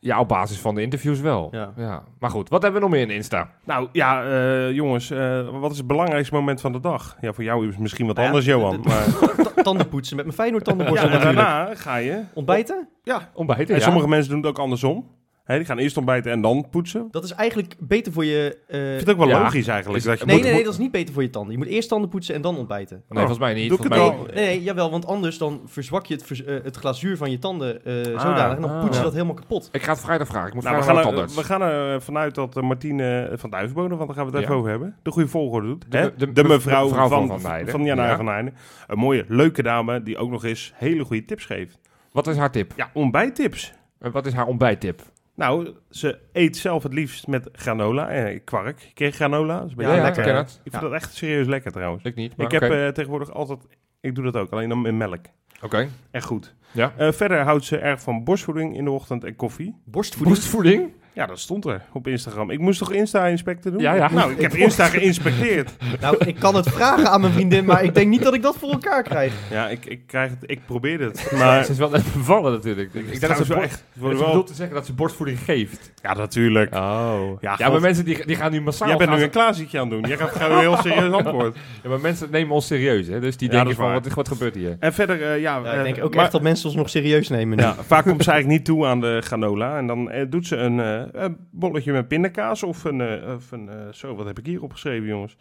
[SPEAKER 3] Ja, op basis van de interviews wel.
[SPEAKER 2] Ja.
[SPEAKER 3] Maar goed, wat hebben we nog meer in Insta?
[SPEAKER 4] Nou ja, eh, jongens, eh, wat is het belangrijkste moment van de dag? Ja, voor jou is het misschien wat
[SPEAKER 2] Nou ja,
[SPEAKER 4] anders, Johan.
[SPEAKER 2] d- d-
[SPEAKER 4] Maar
[SPEAKER 2] Ta- Tanden poetsen met mijn Feyenoord
[SPEAKER 4] ja,
[SPEAKER 2] tandenborstel
[SPEAKER 4] en
[SPEAKER 2] natuurlijk.
[SPEAKER 4] daarna ga je.
[SPEAKER 2] Ontbijten?
[SPEAKER 3] Ontbijten,
[SPEAKER 4] En
[SPEAKER 3] ja.
[SPEAKER 4] sommige mensen doen het ook andersom. Hè, die gaan eerst ontbijten en dan poetsen. Ik
[SPEAKER 2] Dat is eigenlijk beter voor je... eh,
[SPEAKER 4] vind het ook wel
[SPEAKER 3] Ja.
[SPEAKER 4] logisch eigenlijk.
[SPEAKER 3] Is-
[SPEAKER 4] dat je
[SPEAKER 2] nee,
[SPEAKER 4] moet-
[SPEAKER 2] nee, nee,
[SPEAKER 4] moet-
[SPEAKER 2] dat is niet beter voor je tanden. Je moet eerst tanden poetsen en dan ontbijten.
[SPEAKER 3] Nee, volgens mij niet.
[SPEAKER 4] Oh, Doe ik het
[SPEAKER 3] volgens mij
[SPEAKER 2] Nee,
[SPEAKER 4] wel.
[SPEAKER 2] nee, nee, jawel, want anders dan verzwak je het, vers- eh, het glazuur van je tanden eh,
[SPEAKER 4] Ah,
[SPEAKER 2] zodanig. En dan
[SPEAKER 3] ah.
[SPEAKER 2] poets je dat helemaal kapot.
[SPEAKER 3] Ik ga het vrijdag vragen. Ik moet
[SPEAKER 4] Nou, we,
[SPEAKER 3] vrijdag
[SPEAKER 4] gaan
[SPEAKER 3] naar de
[SPEAKER 4] er,
[SPEAKER 3] tandarts.
[SPEAKER 4] we gaan er vanuit dat eh, Martine van Duivenboden, want daar gaan we het even
[SPEAKER 3] Ja.
[SPEAKER 4] over hebben, de goede volgorde doet.
[SPEAKER 3] De-
[SPEAKER 4] hè?
[SPEAKER 3] de- de-
[SPEAKER 4] de mevrouw,
[SPEAKER 3] de mevrouw
[SPEAKER 4] van,
[SPEAKER 3] van Van Heijden.
[SPEAKER 4] van Jana
[SPEAKER 3] Ja.
[SPEAKER 4] van Heijden. Een mooie, leuke dame die ook nog eens hele goede tips geeft.
[SPEAKER 3] Wat is haar tip?
[SPEAKER 4] Ja, ontbijttips.
[SPEAKER 3] En Wat is haar ontbijttip?
[SPEAKER 4] Nou, ze eet zelf het liefst met granola. Eh, kwark. Ik kreeg granola. Dat is een beetje
[SPEAKER 2] Ja, ja,
[SPEAKER 4] lekker.
[SPEAKER 3] ik ken het.
[SPEAKER 4] Ik
[SPEAKER 3] Ja.
[SPEAKER 4] vind dat echt serieus lekker trouwens.
[SPEAKER 3] Ik niet, maar
[SPEAKER 4] ik
[SPEAKER 3] oké.
[SPEAKER 4] heb eh, tegenwoordig altijd... Ik doe dat ook, alleen dan met melk.
[SPEAKER 3] Oké.
[SPEAKER 4] Echt goed.
[SPEAKER 3] Ja.
[SPEAKER 4] Eh, verder houdt ze erg van borstvoeding in de ochtend en koffie.
[SPEAKER 2] Borstvoeding.
[SPEAKER 3] Borstvoeding?
[SPEAKER 4] Ja, dat stond er op Instagram. Ik moest toch Insta-inspecten doen?
[SPEAKER 3] Ja, ja.
[SPEAKER 4] Nou, ik heb Insta geïnspecteerd.
[SPEAKER 2] Nou, ik kan het vragen aan mijn vriendin, maar ik denk niet dat ik dat voor elkaar krijg.
[SPEAKER 4] Ja, ik, ik, krijg het, ik probeer het. Maar
[SPEAKER 3] Ze is wel net bevallen natuurlijk. Ik, denk dat ze,
[SPEAKER 4] wel
[SPEAKER 3] borst,
[SPEAKER 4] echt...
[SPEAKER 3] dat
[SPEAKER 4] worden
[SPEAKER 3] ze
[SPEAKER 4] Wel...
[SPEAKER 3] bedoelt te zeggen dat ze borstvoeding geeft.
[SPEAKER 4] Ja, natuurlijk.
[SPEAKER 3] Oh. Ja,
[SPEAKER 4] Ja,
[SPEAKER 3] maar
[SPEAKER 4] God.
[SPEAKER 3] mensen die, die gaan nu massaal...
[SPEAKER 4] Jij bent
[SPEAKER 3] gaan
[SPEAKER 4] nu
[SPEAKER 3] ze-
[SPEAKER 4] een klaasietje aan het doen. Jij gaat gewoon een heel serieus antwoord.
[SPEAKER 3] ja, maar mensen nemen ons serieus, hè. Dus die
[SPEAKER 4] Ja,
[SPEAKER 3] denken
[SPEAKER 4] dat is
[SPEAKER 3] van,
[SPEAKER 4] waar.
[SPEAKER 3] wat, is- wat gebeurt hier?
[SPEAKER 4] En verder, eh, ja...
[SPEAKER 2] Ja, ik denk
[SPEAKER 4] eh,
[SPEAKER 2] ook
[SPEAKER 4] maar-
[SPEAKER 2] echt dat mensen ons nog serieus nemen nu.
[SPEAKER 4] Ja, vaak komt ze eigenlijk niet toe aan de granola. En dan eh, doet ze een eh, eh, bolletje met pindakaas of een... eh, of een eh, zo, wat heb ik hier opgeschreven, jongens?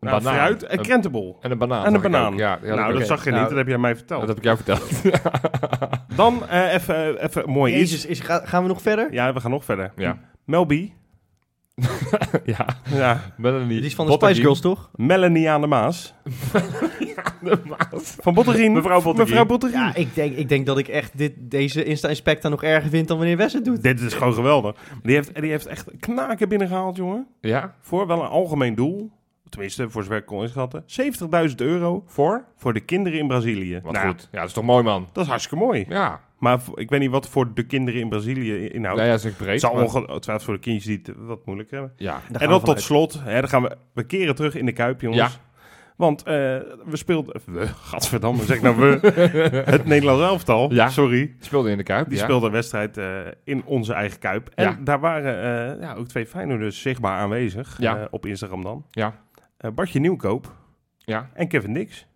[SPEAKER 3] Een
[SPEAKER 4] Nou,
[SPEAKER 3] banaan.
[SPEAKER 4] fruit en
[SPEAKER 3] Een-
[SPEAKER 4] krentenbol.
[SPEAKER 3] En een banaan.
[SPEAKER 4] En een
[SPEAKER 3] zag ik
[SPEAKER 4] banaan.
[SPEAKER 3] ook. Ja, ja,
[SPEAKER 4] nou, dat
[SPEAKER 3] oké.
[SPEAKER 4] zag je
[SPEAKER 2] Nou,
[SPEAKER 4] niet, dat heb jij mij verteld.
[SPEAKER 3] Dat heb ik jou verteld.
[SPEAKER 4] Dan eh, even eh, even mooi iets.
[SPEAKER 2] Jezus, is, ga- gaan we nog verder?
[SPEAKER 4] Ja, we gaan nog verder.
[SPEAKER 3] ja.
[SPEAKER 4] Melby.
[SPEAKER 3] ja.
[SPEAKER 4] Ja.
[SPEAKER 3] Melanie.
[SPEAKER 2] Die is van de
[SPEAKER 3] Bottergien.
[SPEAKER 2] Spice Girls, toch?
[SPEAKER 4] Melanie aan de Maas.
[SPEAKER 3] De maat.
[SPEAKER 4] Van Bottergien.
[SPEAKER 3] Mevrouw Bottergien.
[SPEAKER 4] Mevrouw Bottergien.
[SPEAKER 2] Ja, ik denk, ik denk dat ik echt dit, deze Insta-inspecta nog erger vind dan wanneer Wes het doet.
[SPEAKER 4] Dit is gewoon geweldig. Die heeft, die heeft echt knaken binnengehaald, jongen.
[SPEAKER 3] Ja.
[SPEAKER 4] Voor wel een algemeen doel. Tenminste, voor zover ik kon inschatten. 70.000 euro
[SPEAKER 3] Voor?
[SPEAKER 4] voor de kinderen in Brazilië.
[SPEAKER 3] Wat
[SPEAKER 4] Nou,
[SPEAKER 3] goed. Ja, dat is toch mooi, man.
[SPEAKER 4] Dat is hartstikke mooi.
[SPEAKER 3] Ja.
[SPEAKER 4] Maar voor- ik weet niet wat voor de kinderen in Brazilië inhoudt.
[SPEAKER 3] Nou ja, dat is ook breed.
[SPEAKER 4] het zal
[SPEAKER 3] maar-
[SPEAKER 4] ongetwijfeld voor de kindjes die het wat moeilijker hebben.
[SPEAKER 3] Ja.
[SPEAKER 2] Daar
[SPEAKER 4] en
[SPEAKER 2] gaan
[SPEAKER 4] dan
[SPEAKER 2] we
[SPEAKER 4] tot
[SPEAKER 2] vanuit.
[SPEAKER 4] slot, hè, dan gaan we, we keren terug in de Kuip, jongens.
[SPEAKER 3] Ja.
[SPEAKER 4] Want eh, we speelden... We, gadverdamme, zeg nou we. het Nederlands elftal,
[SPEAKER 3] Ja.
[SPEAKER 4] sorry.
[SPEAKER 3] Speelde in de Kuip.
[SPEAKER 4] Die
[SPEAKER 3] ja.
[SPEAKER 4] speelde een wedstrijd eh, in onze eigen Kuip. En
[SPEAKER 3] Ja.
[SPEAKER 4] daar waren eh, ja, ook twee Feyenoorders zichtbaar aanwezig.
[SPEAKER 3] Ja.
[SPEAKER 4] eh, op Instagram dan.
[SPEAKER 3] Ja.
[SPEAKER 4] Eh, Bartje Nieuwkoop
[SPEAKER 3] Ja.
[SPEAKER 4] en Kevin Dix.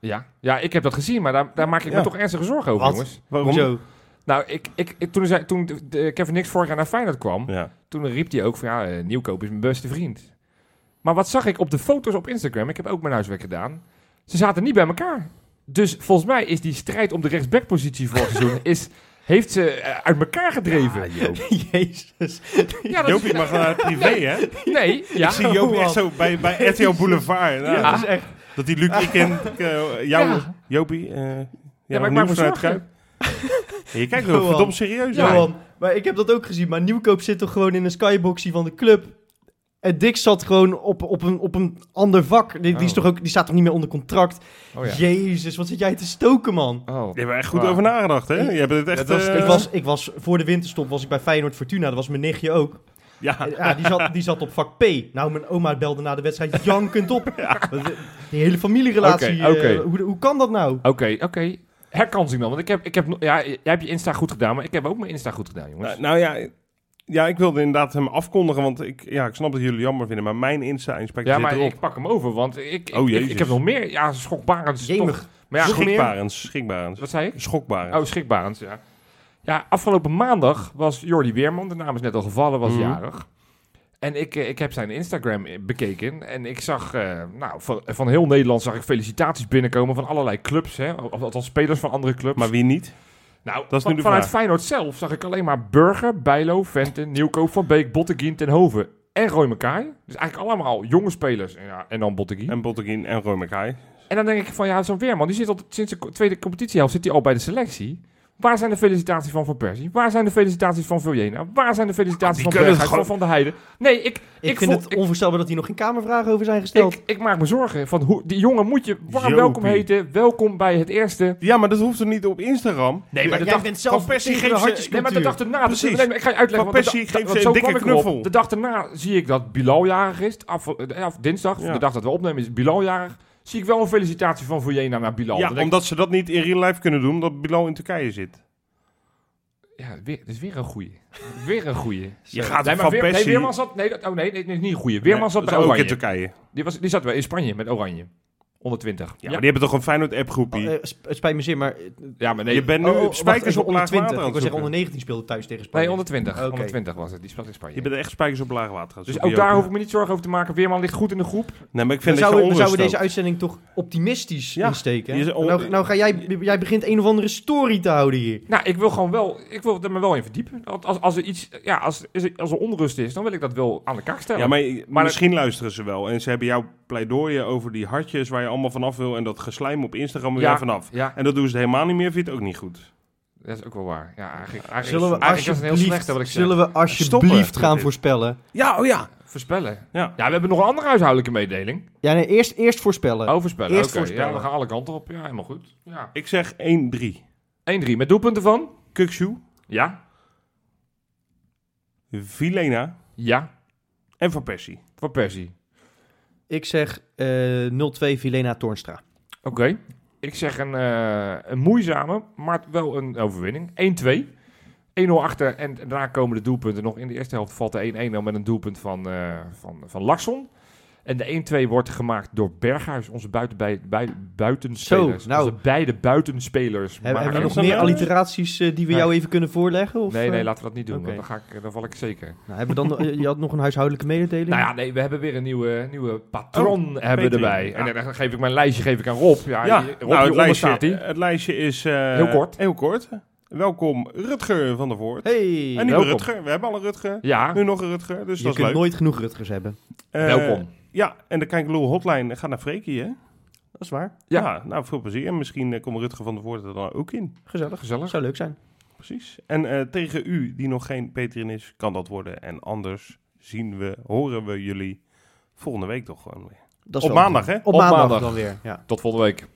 [SPEAKER 3] Ja. ja, ik heb dat gezien, maar daar, daar maak ik me
[SPEAKER 4] Ja.
[SPEAKER 3] toch ernstige zorgen over,
[SPEAKER 2] Wat?
[SPEAKER 3] jongens.
[SPEAKER 4] Waarom?
[SPEAKER 2] Hoezo?
[SPEAKER 3] Nou, ik, ik, ik- toen, zei, toen de- de Kevin Nix vorig jaar naar Feyenoord kwam,
[SPEAKER 4] Ja.
[SPEAKER 3] toen riep hij ook van ja, eh, Nieuwkoop is mijn beste vriend. Maar wat zag ik op de foto's op Instagram? Ik heb ook mijn huiswerk gedaan. Ze zaten niet bij elkaar. Dus volgens mij is die strijd om de rechtsbackpositie vorig seizoen is, heeft ze eh, uit elkaar gedreven. Ja,
[SPEAKER 2] Jezus.
[SPEAKER 3] dat is-
[SPEAKER 4] Jopie mag naar privé, hè?
[SPEAKER 3] nee, ja.
[SPEAKER 4] Ik zie Jopie echt zo bij, bij RTL Boulevard. Nou,
[SPEAKER 3] Ja.
[SPEAKER 4] dat, is echt, dat die Luc, ik en eh, jou...
[SPEAKER 3] Ja.
[SPEAKER 4] Jopie, eh ja,
[SPEAKER 3] Ja, maar ik maak
[SPEAKER 4] nieuws
[SPEAKER 3] me
[SPEAKER 4] vanuit
[SPEAKER 3] zorgen.
[SPEAKER 4] Kuip. Ja, Je kijkt er ook
[SPEAKER 2] Johan.
[SPEAKER 4] verdomd serieus
[SPEAKER 2] Ja,
[SPEAKER 4] naar.
[SPEAKER 2] man. Maar ik heb dat ook gezien. Maar Nieuwkoop zit toch gewoon in een skyboxie van de club. En Dick zat gewoon op, op, een, op een ander vak. Die, die, is
[SPEAKER 3] Oh.
[SPEAKER 2] toch ook, die staat toch niet meer onder contract?
[SPEAKER 3] Oh ja.
[SPEAKER 2] Jezus, wat zit jij te stoken, man?
[SPEAKER 3] Oh.
[SPEAKER 4] Je hebt er echt goed
[SPEAKER 3] Waar.
[SPEAKER 4] over nagedacht, hè?
[SPEAKER 2] Ik-
[SPEAKER 4] Je hebt het echt...
[SPEAKER 3] Dat was-
[SPEAKER 4] eh,
[SPEAKER 2] Ik was, ik was, voor de winterstop was ik bij Feyenoord Fortuna. Dat was mijn nichtje ook. Eh,
[SPEAKER 4] Ja,
[SPEAKER 2] Ja, die zat, die zat op vak P. Nou, mijn oma belde na de wedstrijd jankend op. eh, Die hele familierelatie.
[SPEAKER 3] Oké, oké.
[SPEAKER 2] eh, hoe, hoe kan dat nou?
[SPEAKER 3] Oké, oké. Herkansing dan, want ik heb, ik heb, no- ja, jij hebt je Insta goed gedaan, maar ik heb ook mijn Insta goed gedaan, jongens.
[SPEAKER 4] Nou, nou ja, ja, ik wilde inderdaad hem afkondigen, want ik, ja, ik snap dat jullie jammer vinden, maar mijn Insta-inspectie
[SPEAKER 3] ja,
[SPEAKER 4] zit
[SPEAKER 3] maar
[SPEAKER 4] erop.
[SPEAKER 3] ik pak hem over, want ik, ik,
[SPEAKER 4] Oh,
[SPEAKER 3] ik,
[SPEAKER 4] jezus.
[SPEAKER 3] ik heb nog meer, ja, schokbarends.
[SPEAKER 2] Jemig.
[SPEAKER 3] toch. Maar ja,
[SPEAKER 2] Schrik-
[SPEAKER 4] Schikbarends, schikbarends.
[SPEAKER 3] wat Oh, zei ik?
[SPEAKER 4] Schokbarends.
[SPEAKER 3] Oh, schrikbarend, ja. Ja, afgelopen maandag was Jordi Weerman, de naam is net al gevallen, was
[SPEAKER 4] Mhm.
[SPEAKER 3] jarig. En ik, eh, ik heb zijn Instagram eh, bekeken en ik zag, eh, nou, van, van heel Nederland zag ik felicitaties binnenkomen van allerlei clubs, hè, of althans spelers van andere clubs.
[SPEAKER 4] Maar wie niet?
[SPEAKER 3] nou,
[SPEAKER 4] dat is
[SPEAKER 3] van-
[SPEAKER 4] nu de
[SPEAKER 3] vanuit
[SPEAKER 4] vraag.
[SPEAKER 3] Feyenoord zelf zag ik alleen maar Burger, Bijlo, Venten, Nieuwkoop, Van Beek, Botteguin, Ten Hoven en Roy Mekaai. Dus eigenlijk allemaal jonge spelers en, ja, en dan Botteguin.
[SPEAKER 4] En Botteguin en Roy
[SPEAKER 3] En dan denk ik van ja, zo'n Weerman, die zit al sinds de co- tweede competitiehelft zit hij al bij de selectie. Waar zijn de felicitaties van Van Persie? Waar zijn de felicitaties van Viljena? Waar zijn de felicitaties
[SPEAKER 4] Die
[SPEAKER 3] van
[SPEAKER 4] kunnen
[SPEAKER 3] Berghuis,
[SPEAKER 4] het
[SPEAKER 3] van Van der Heijden? Nee, ik,
[SPEAKER 2] Ik,
[SPEAKER 3] ik,
[SPEAKER 2] vind
[SPEAKER 3] voel-
[SPEAKER 2] het
[SPEAKER 3] ik,
[SPEAKER 2] onvoorstelbaar dat hier nog geen kamervragen over zijn gesteld.
[SPEAKER 3] ik, ik maak me zorgen. Van hoe, die jongen moet je warm
[SPEAKER 4] Jopie.
[SPEAKER 3] welkom heten. Welkom bij het eerste.
[SPEAKER 4] Ja, maar dat hoeft er niet op Instagram.
[SPEAKER 3] Nee, maar,
[SPEAKER 2] jij
[SPEAKER 3] de dag,
[SPEAKER 2] bent
[SPEAKER 4] Van
[SPEAKER 2] zelf
[SPEAKER 4] Persie
[SPEAKER 2] tegen de
[SPEAKER 4] geeft ze-
[SPEAKER 2] hartjescultuur.
[SPEAKER 3] nee, maar de dag erna... dus-
[SPEAKER 4] Precies.
[SPEAKER 3] nee, maar ik ga je uitleggen.
[SPEAKER 4] Van
[SPEAKER 3] want de
[SPEAKER 4] Persie
[SPEAKER 3] dag-
[SPEAKER 4] geeft
[SPEAKER 3] dat-
[SPEAKER 4] ze
[SPEAKER 3] zo
[SPEAKER 4] een
[SPEAKER 3] kwam
[SPEAKER 4] dikke
[SPEAKER 3] ik erop.
[SPEAKER 4] knuffel.
[SPEAKER 3] De dag erna zie ik dat Bilal jarig is. Af, eh, af- dinsdag,
[SPEAKER 4] Ja.
[SPEAKER 3] de dag dat we opnemen, is Bilal jarig. Zie ik wel een felicitatie van Viljena naar Bilal.
[SPEAKER 4] ja,
[SPEAKER 3] Dan denk ik,
[SPEAKER 4] omdat ze dat niet in real life kunnen doen, omdat Bilal in Turkije zit.
[SPEAKER 3] Ja, weer, dat is weer een goeie. Weer een goeie.
[SPEAKER 4] Je gaat
[SPEAKER 3] nee, maar
[SPEAKER 4] van
[SPEAKER 3] Weer- nee,
[SPEAKER 4] Persie-
[SPEAKER 3] Weerman zat... Nee, dat, oh nee, nee, nee, niet een goeie. Weerman
[SPEAKER 4] Nee,
[SPEAKER 3] zat
[SPEAKER 4] dat
[SPEAKER 3] bij
[SPEAKER 4] is ook in
[SPEAKER 3] Oranje.
[SPEAKER 4] Turkije. Ja,
[SPEAKER 3] Die, was, die zat bij in Spanje met Oranje. 120. Ja,
[SPEAKER 4] maar die hebben toch een Feyenoord app
[SPEAKER 2] Oh,
[SPEAKER 4] groepie.
[SPEAKER 2] eh, sp- het spijt me zeer, maar... eh,
[SPEAKER 3] ja, maar nee.
[SPEAKER 4] je bent nu
[SPEAKER 2] oh, oh,
[SPEAKER 4] op spijkers
[SPEAKER 2] wacht, even,
[SPEAKER 4] op laag water aan
[SPEAKER 2] Ik
[SPEAKER 4] het
[SPEAKER 2] wil zeggen, onder
[SPEAKER 4] zoeken.
[SPEAKER 2] 19 speelde thuis tegen Spanje.
[SPEAKER 3] Nee, 120.
[SPEAKER 2] Oké.
[SPEAKER 3] 120 was het. Die sprak in Spanje.
[SPEAKER 4] Je bent echt spijkers op laag water aan het
[SPEAKER 3] dus
[SPEAKER 4] zoeken,
[SPEAKER 3] ook daar hoef
[SPEAKER 4] Jopie.
[SPEAKER 3] ik me niet zorgen over te maken. Weerman ligt goed in de groep.
[SPEAKER 4] Nee, maar ik
[SPEAKER 2] Dan
[SPEAKER 4] vind dat je
[SPEAKER 2] zouden, we
[SPEAKER 4] onrust
[SPEAKER 2] zouden deze
[SPEAKER 4] ook.
[SPEAKER 2] uitzending toch optimistisch
[SPEAKER 4] Ja,
[SPEAKER 2] insteken.
[SPEAKER 4] die is on-
[SPEAKER 2] nou, nou ga jij, jij begint een of andere story te houden hier.
[SPEAKER 3] Nou, ik wil gewoon wel... Ik wil er me wel in verdiepen. Als, als, als er iets... Ja, als, als er onrust is, dan wil ik dat wel aan de kaak stellen.
[SPEAKER 4] Ja, maar,
[SPEAKER 3] Maar-
[SPEAKER 4] misschien luisteren ze wel. En ze hebben jouw pleidooien over die hartjes waar je allemaal vanaf wil. En dat geslijm op Instagram weer
[SPEAKER 3] Ja.
[SPEAKER 4] vanaf.
[SPEAKER 3] Ja,
[SPEAKER 4] En dat doen ze helemaal niet meer, vind je het ook niet goed.
[SPEAKER 3] dat is ook wel waar. Ja, eigenlijk, eigenlijk,
[SPEAKER 2] Zullen we
[SPEAKER 3] is, eigenlijk is het heel
[SPEAKER 2] alsjeblieft,
[SPEAKER 3] slecht hè, wat ik zeg.
[SPEAKER 2] zullen we alsjeblieft
[SPEAKER 4] Stoppen.
[SPEAKER 2] gaan voorspellen?
[SPEAKER 4] Ja, oh ja.
[SPEAKER 3] Voorspellen.
[SPEAKER 4] Ja.
[SPEAKER 3] ja, we hebben nog een andere huishoudelijke mededeling.
[SPEAKER 2] Ja, nee, eerst, eerst voorspellen.
[SPEAKER 3] Oh, voorspellen.
[SPEAKER 2] Eh, Eerst
[SPEAKER 3] Oké,
[SPEAKER 2] voorspellen.
[SPEAKER 3] Ja, we gaan alle kanten op. Ja, helemaal goed. Ja.
[SPEAKER 4] Ik zeg 1-3.
[SPEAKER 3] 1-3 met doelpunten van?
[SPEAKER 4] Kukshoe,
[SPEAKER 3] Ja.
[SPEAKER 4] Vilena
[SPEAKER 3] Ja.
[SPEAKER 4] en Van Persie.
[SPEAKER 3] Van Persie.
[SPEAKER 2] Ik zeg eh 0-2 Vilena Toornstra.
[SPEAKER 3] Oké. Ik zeg een, eh, een moeizame, maar wel een overwinning. 1-2. 1-0 achter en daarna komen de doelpunten nog. In de eerste helft valt de 1-1 al met een doelpunt van, eh, van, van Larsson. En de 1-2 wordt gemaakt door Berghuis, onze buiten, bij, bij- buitenspelers.
[SPEAKER 2] Zo, nou.
[SPEAKER 3] Onze beide buitenspelers.
[SPEAKER 2] Heb-
[SPEAKER 3] maken-
[SPEAKER 2] hebben we nog
[SPEAKER 4] dat
[SPEAKER 2] meer
[SPEAKER 4] een-
[SPEAKER 2] alliteraties eh, die we
[SPEAKER 3] Nee.
[SPEAKER 2] jou even kunnen voorleggen? Of,
[SPEAKER 3] Nee,
[SPEAKER 2] eh,
[SPEAKER 3] nee, laten we dat niet doen.
[SPEAKER 2] Oké.
[SPEAKER 3] want Dan, ga ik, dan val ik zeker.
[SPEAKER 2] nou, hebben we dan, eh, je had nog een huishoudelijke mededeling?
[SPEAKER 3] Nou ja, nee, we hebben weer een nieuwe, nieuwe patroon hebben we
[SPEAKER 4] Patreon,
[SPEAKER 3] erbij.
[SPEAKER 4] Oh, ja.
[SPEAKER 3] En dan geef ik mijn lijstje geef ik aan Rob. Ja,
[SPEAKER 4] ja,
[SPEAKER 3] die-
[SPEAKER 4] nou, het,
[SPEAKER 3] Ah, Rob, hieronder
[SPEAKER 4] lijstje,
[SPEAKER 3] staat hij.
[SPEAKER 4] het lijstje is... eh,
[SPEAKER 3] Heel kort.
[SPEAKER 4] Heel kort. Welkom Rutger van der Voort.
[SPEAKER 2] Hey,
[SPEAKER 4] en nu
[SPEAKER 3] welkom.
[SPEAKER 4] Rutger. We hebben al een Rutger.
[SPEAKER 3] Ja,
[SPEAKER 4] Nu nog een Rutger, dus
[SPEAKER 2] je
[SPEAKER 4] dat
[SPEAKER 2] kunt
[SPEAKER 4] is leuk.
[SPEAKER 2] nooit genoeg Rutgers hebben.
[SPEAKER 4] Eh,
[SPEAKER 3] welkom.
[SPEAKER 4] Ja, en de Kijkloel hotline gaat naar Freekie, hè?
[SPEAKER 2] Dat is waar.
[SPEAKER 3] Ja.
[SPEAKER 4] Ja. nou, veel plezier. En misschien eh, komt Rutger van der Voort er dan ook in.
[SPEAKER 2] Gezellig.
[SPEAKER 3] Gezellig.
[SPEAKER 2] Zou leuk zijn.
[SPEAKER 4] Precies. En eh, tegen u, die nog geen Patreon is, kan dat worden. En anders zien we, horen we jullie volgende week toch gewoon weer.
[SPEAKER 2] Dat is
[SPEAKER 4] Op
[SPEAKER 2] wel-
[SPEAKER 4] maandag, hè?
[SPEAKER 2] Op,
[SPEAKER 3] Op
[SPEAKER 2] maandag,
[SPEAKER 3] maandag.
[SPEAKER 2] dan weer. Ja.
[SPEAKER 3] Tot volgende week.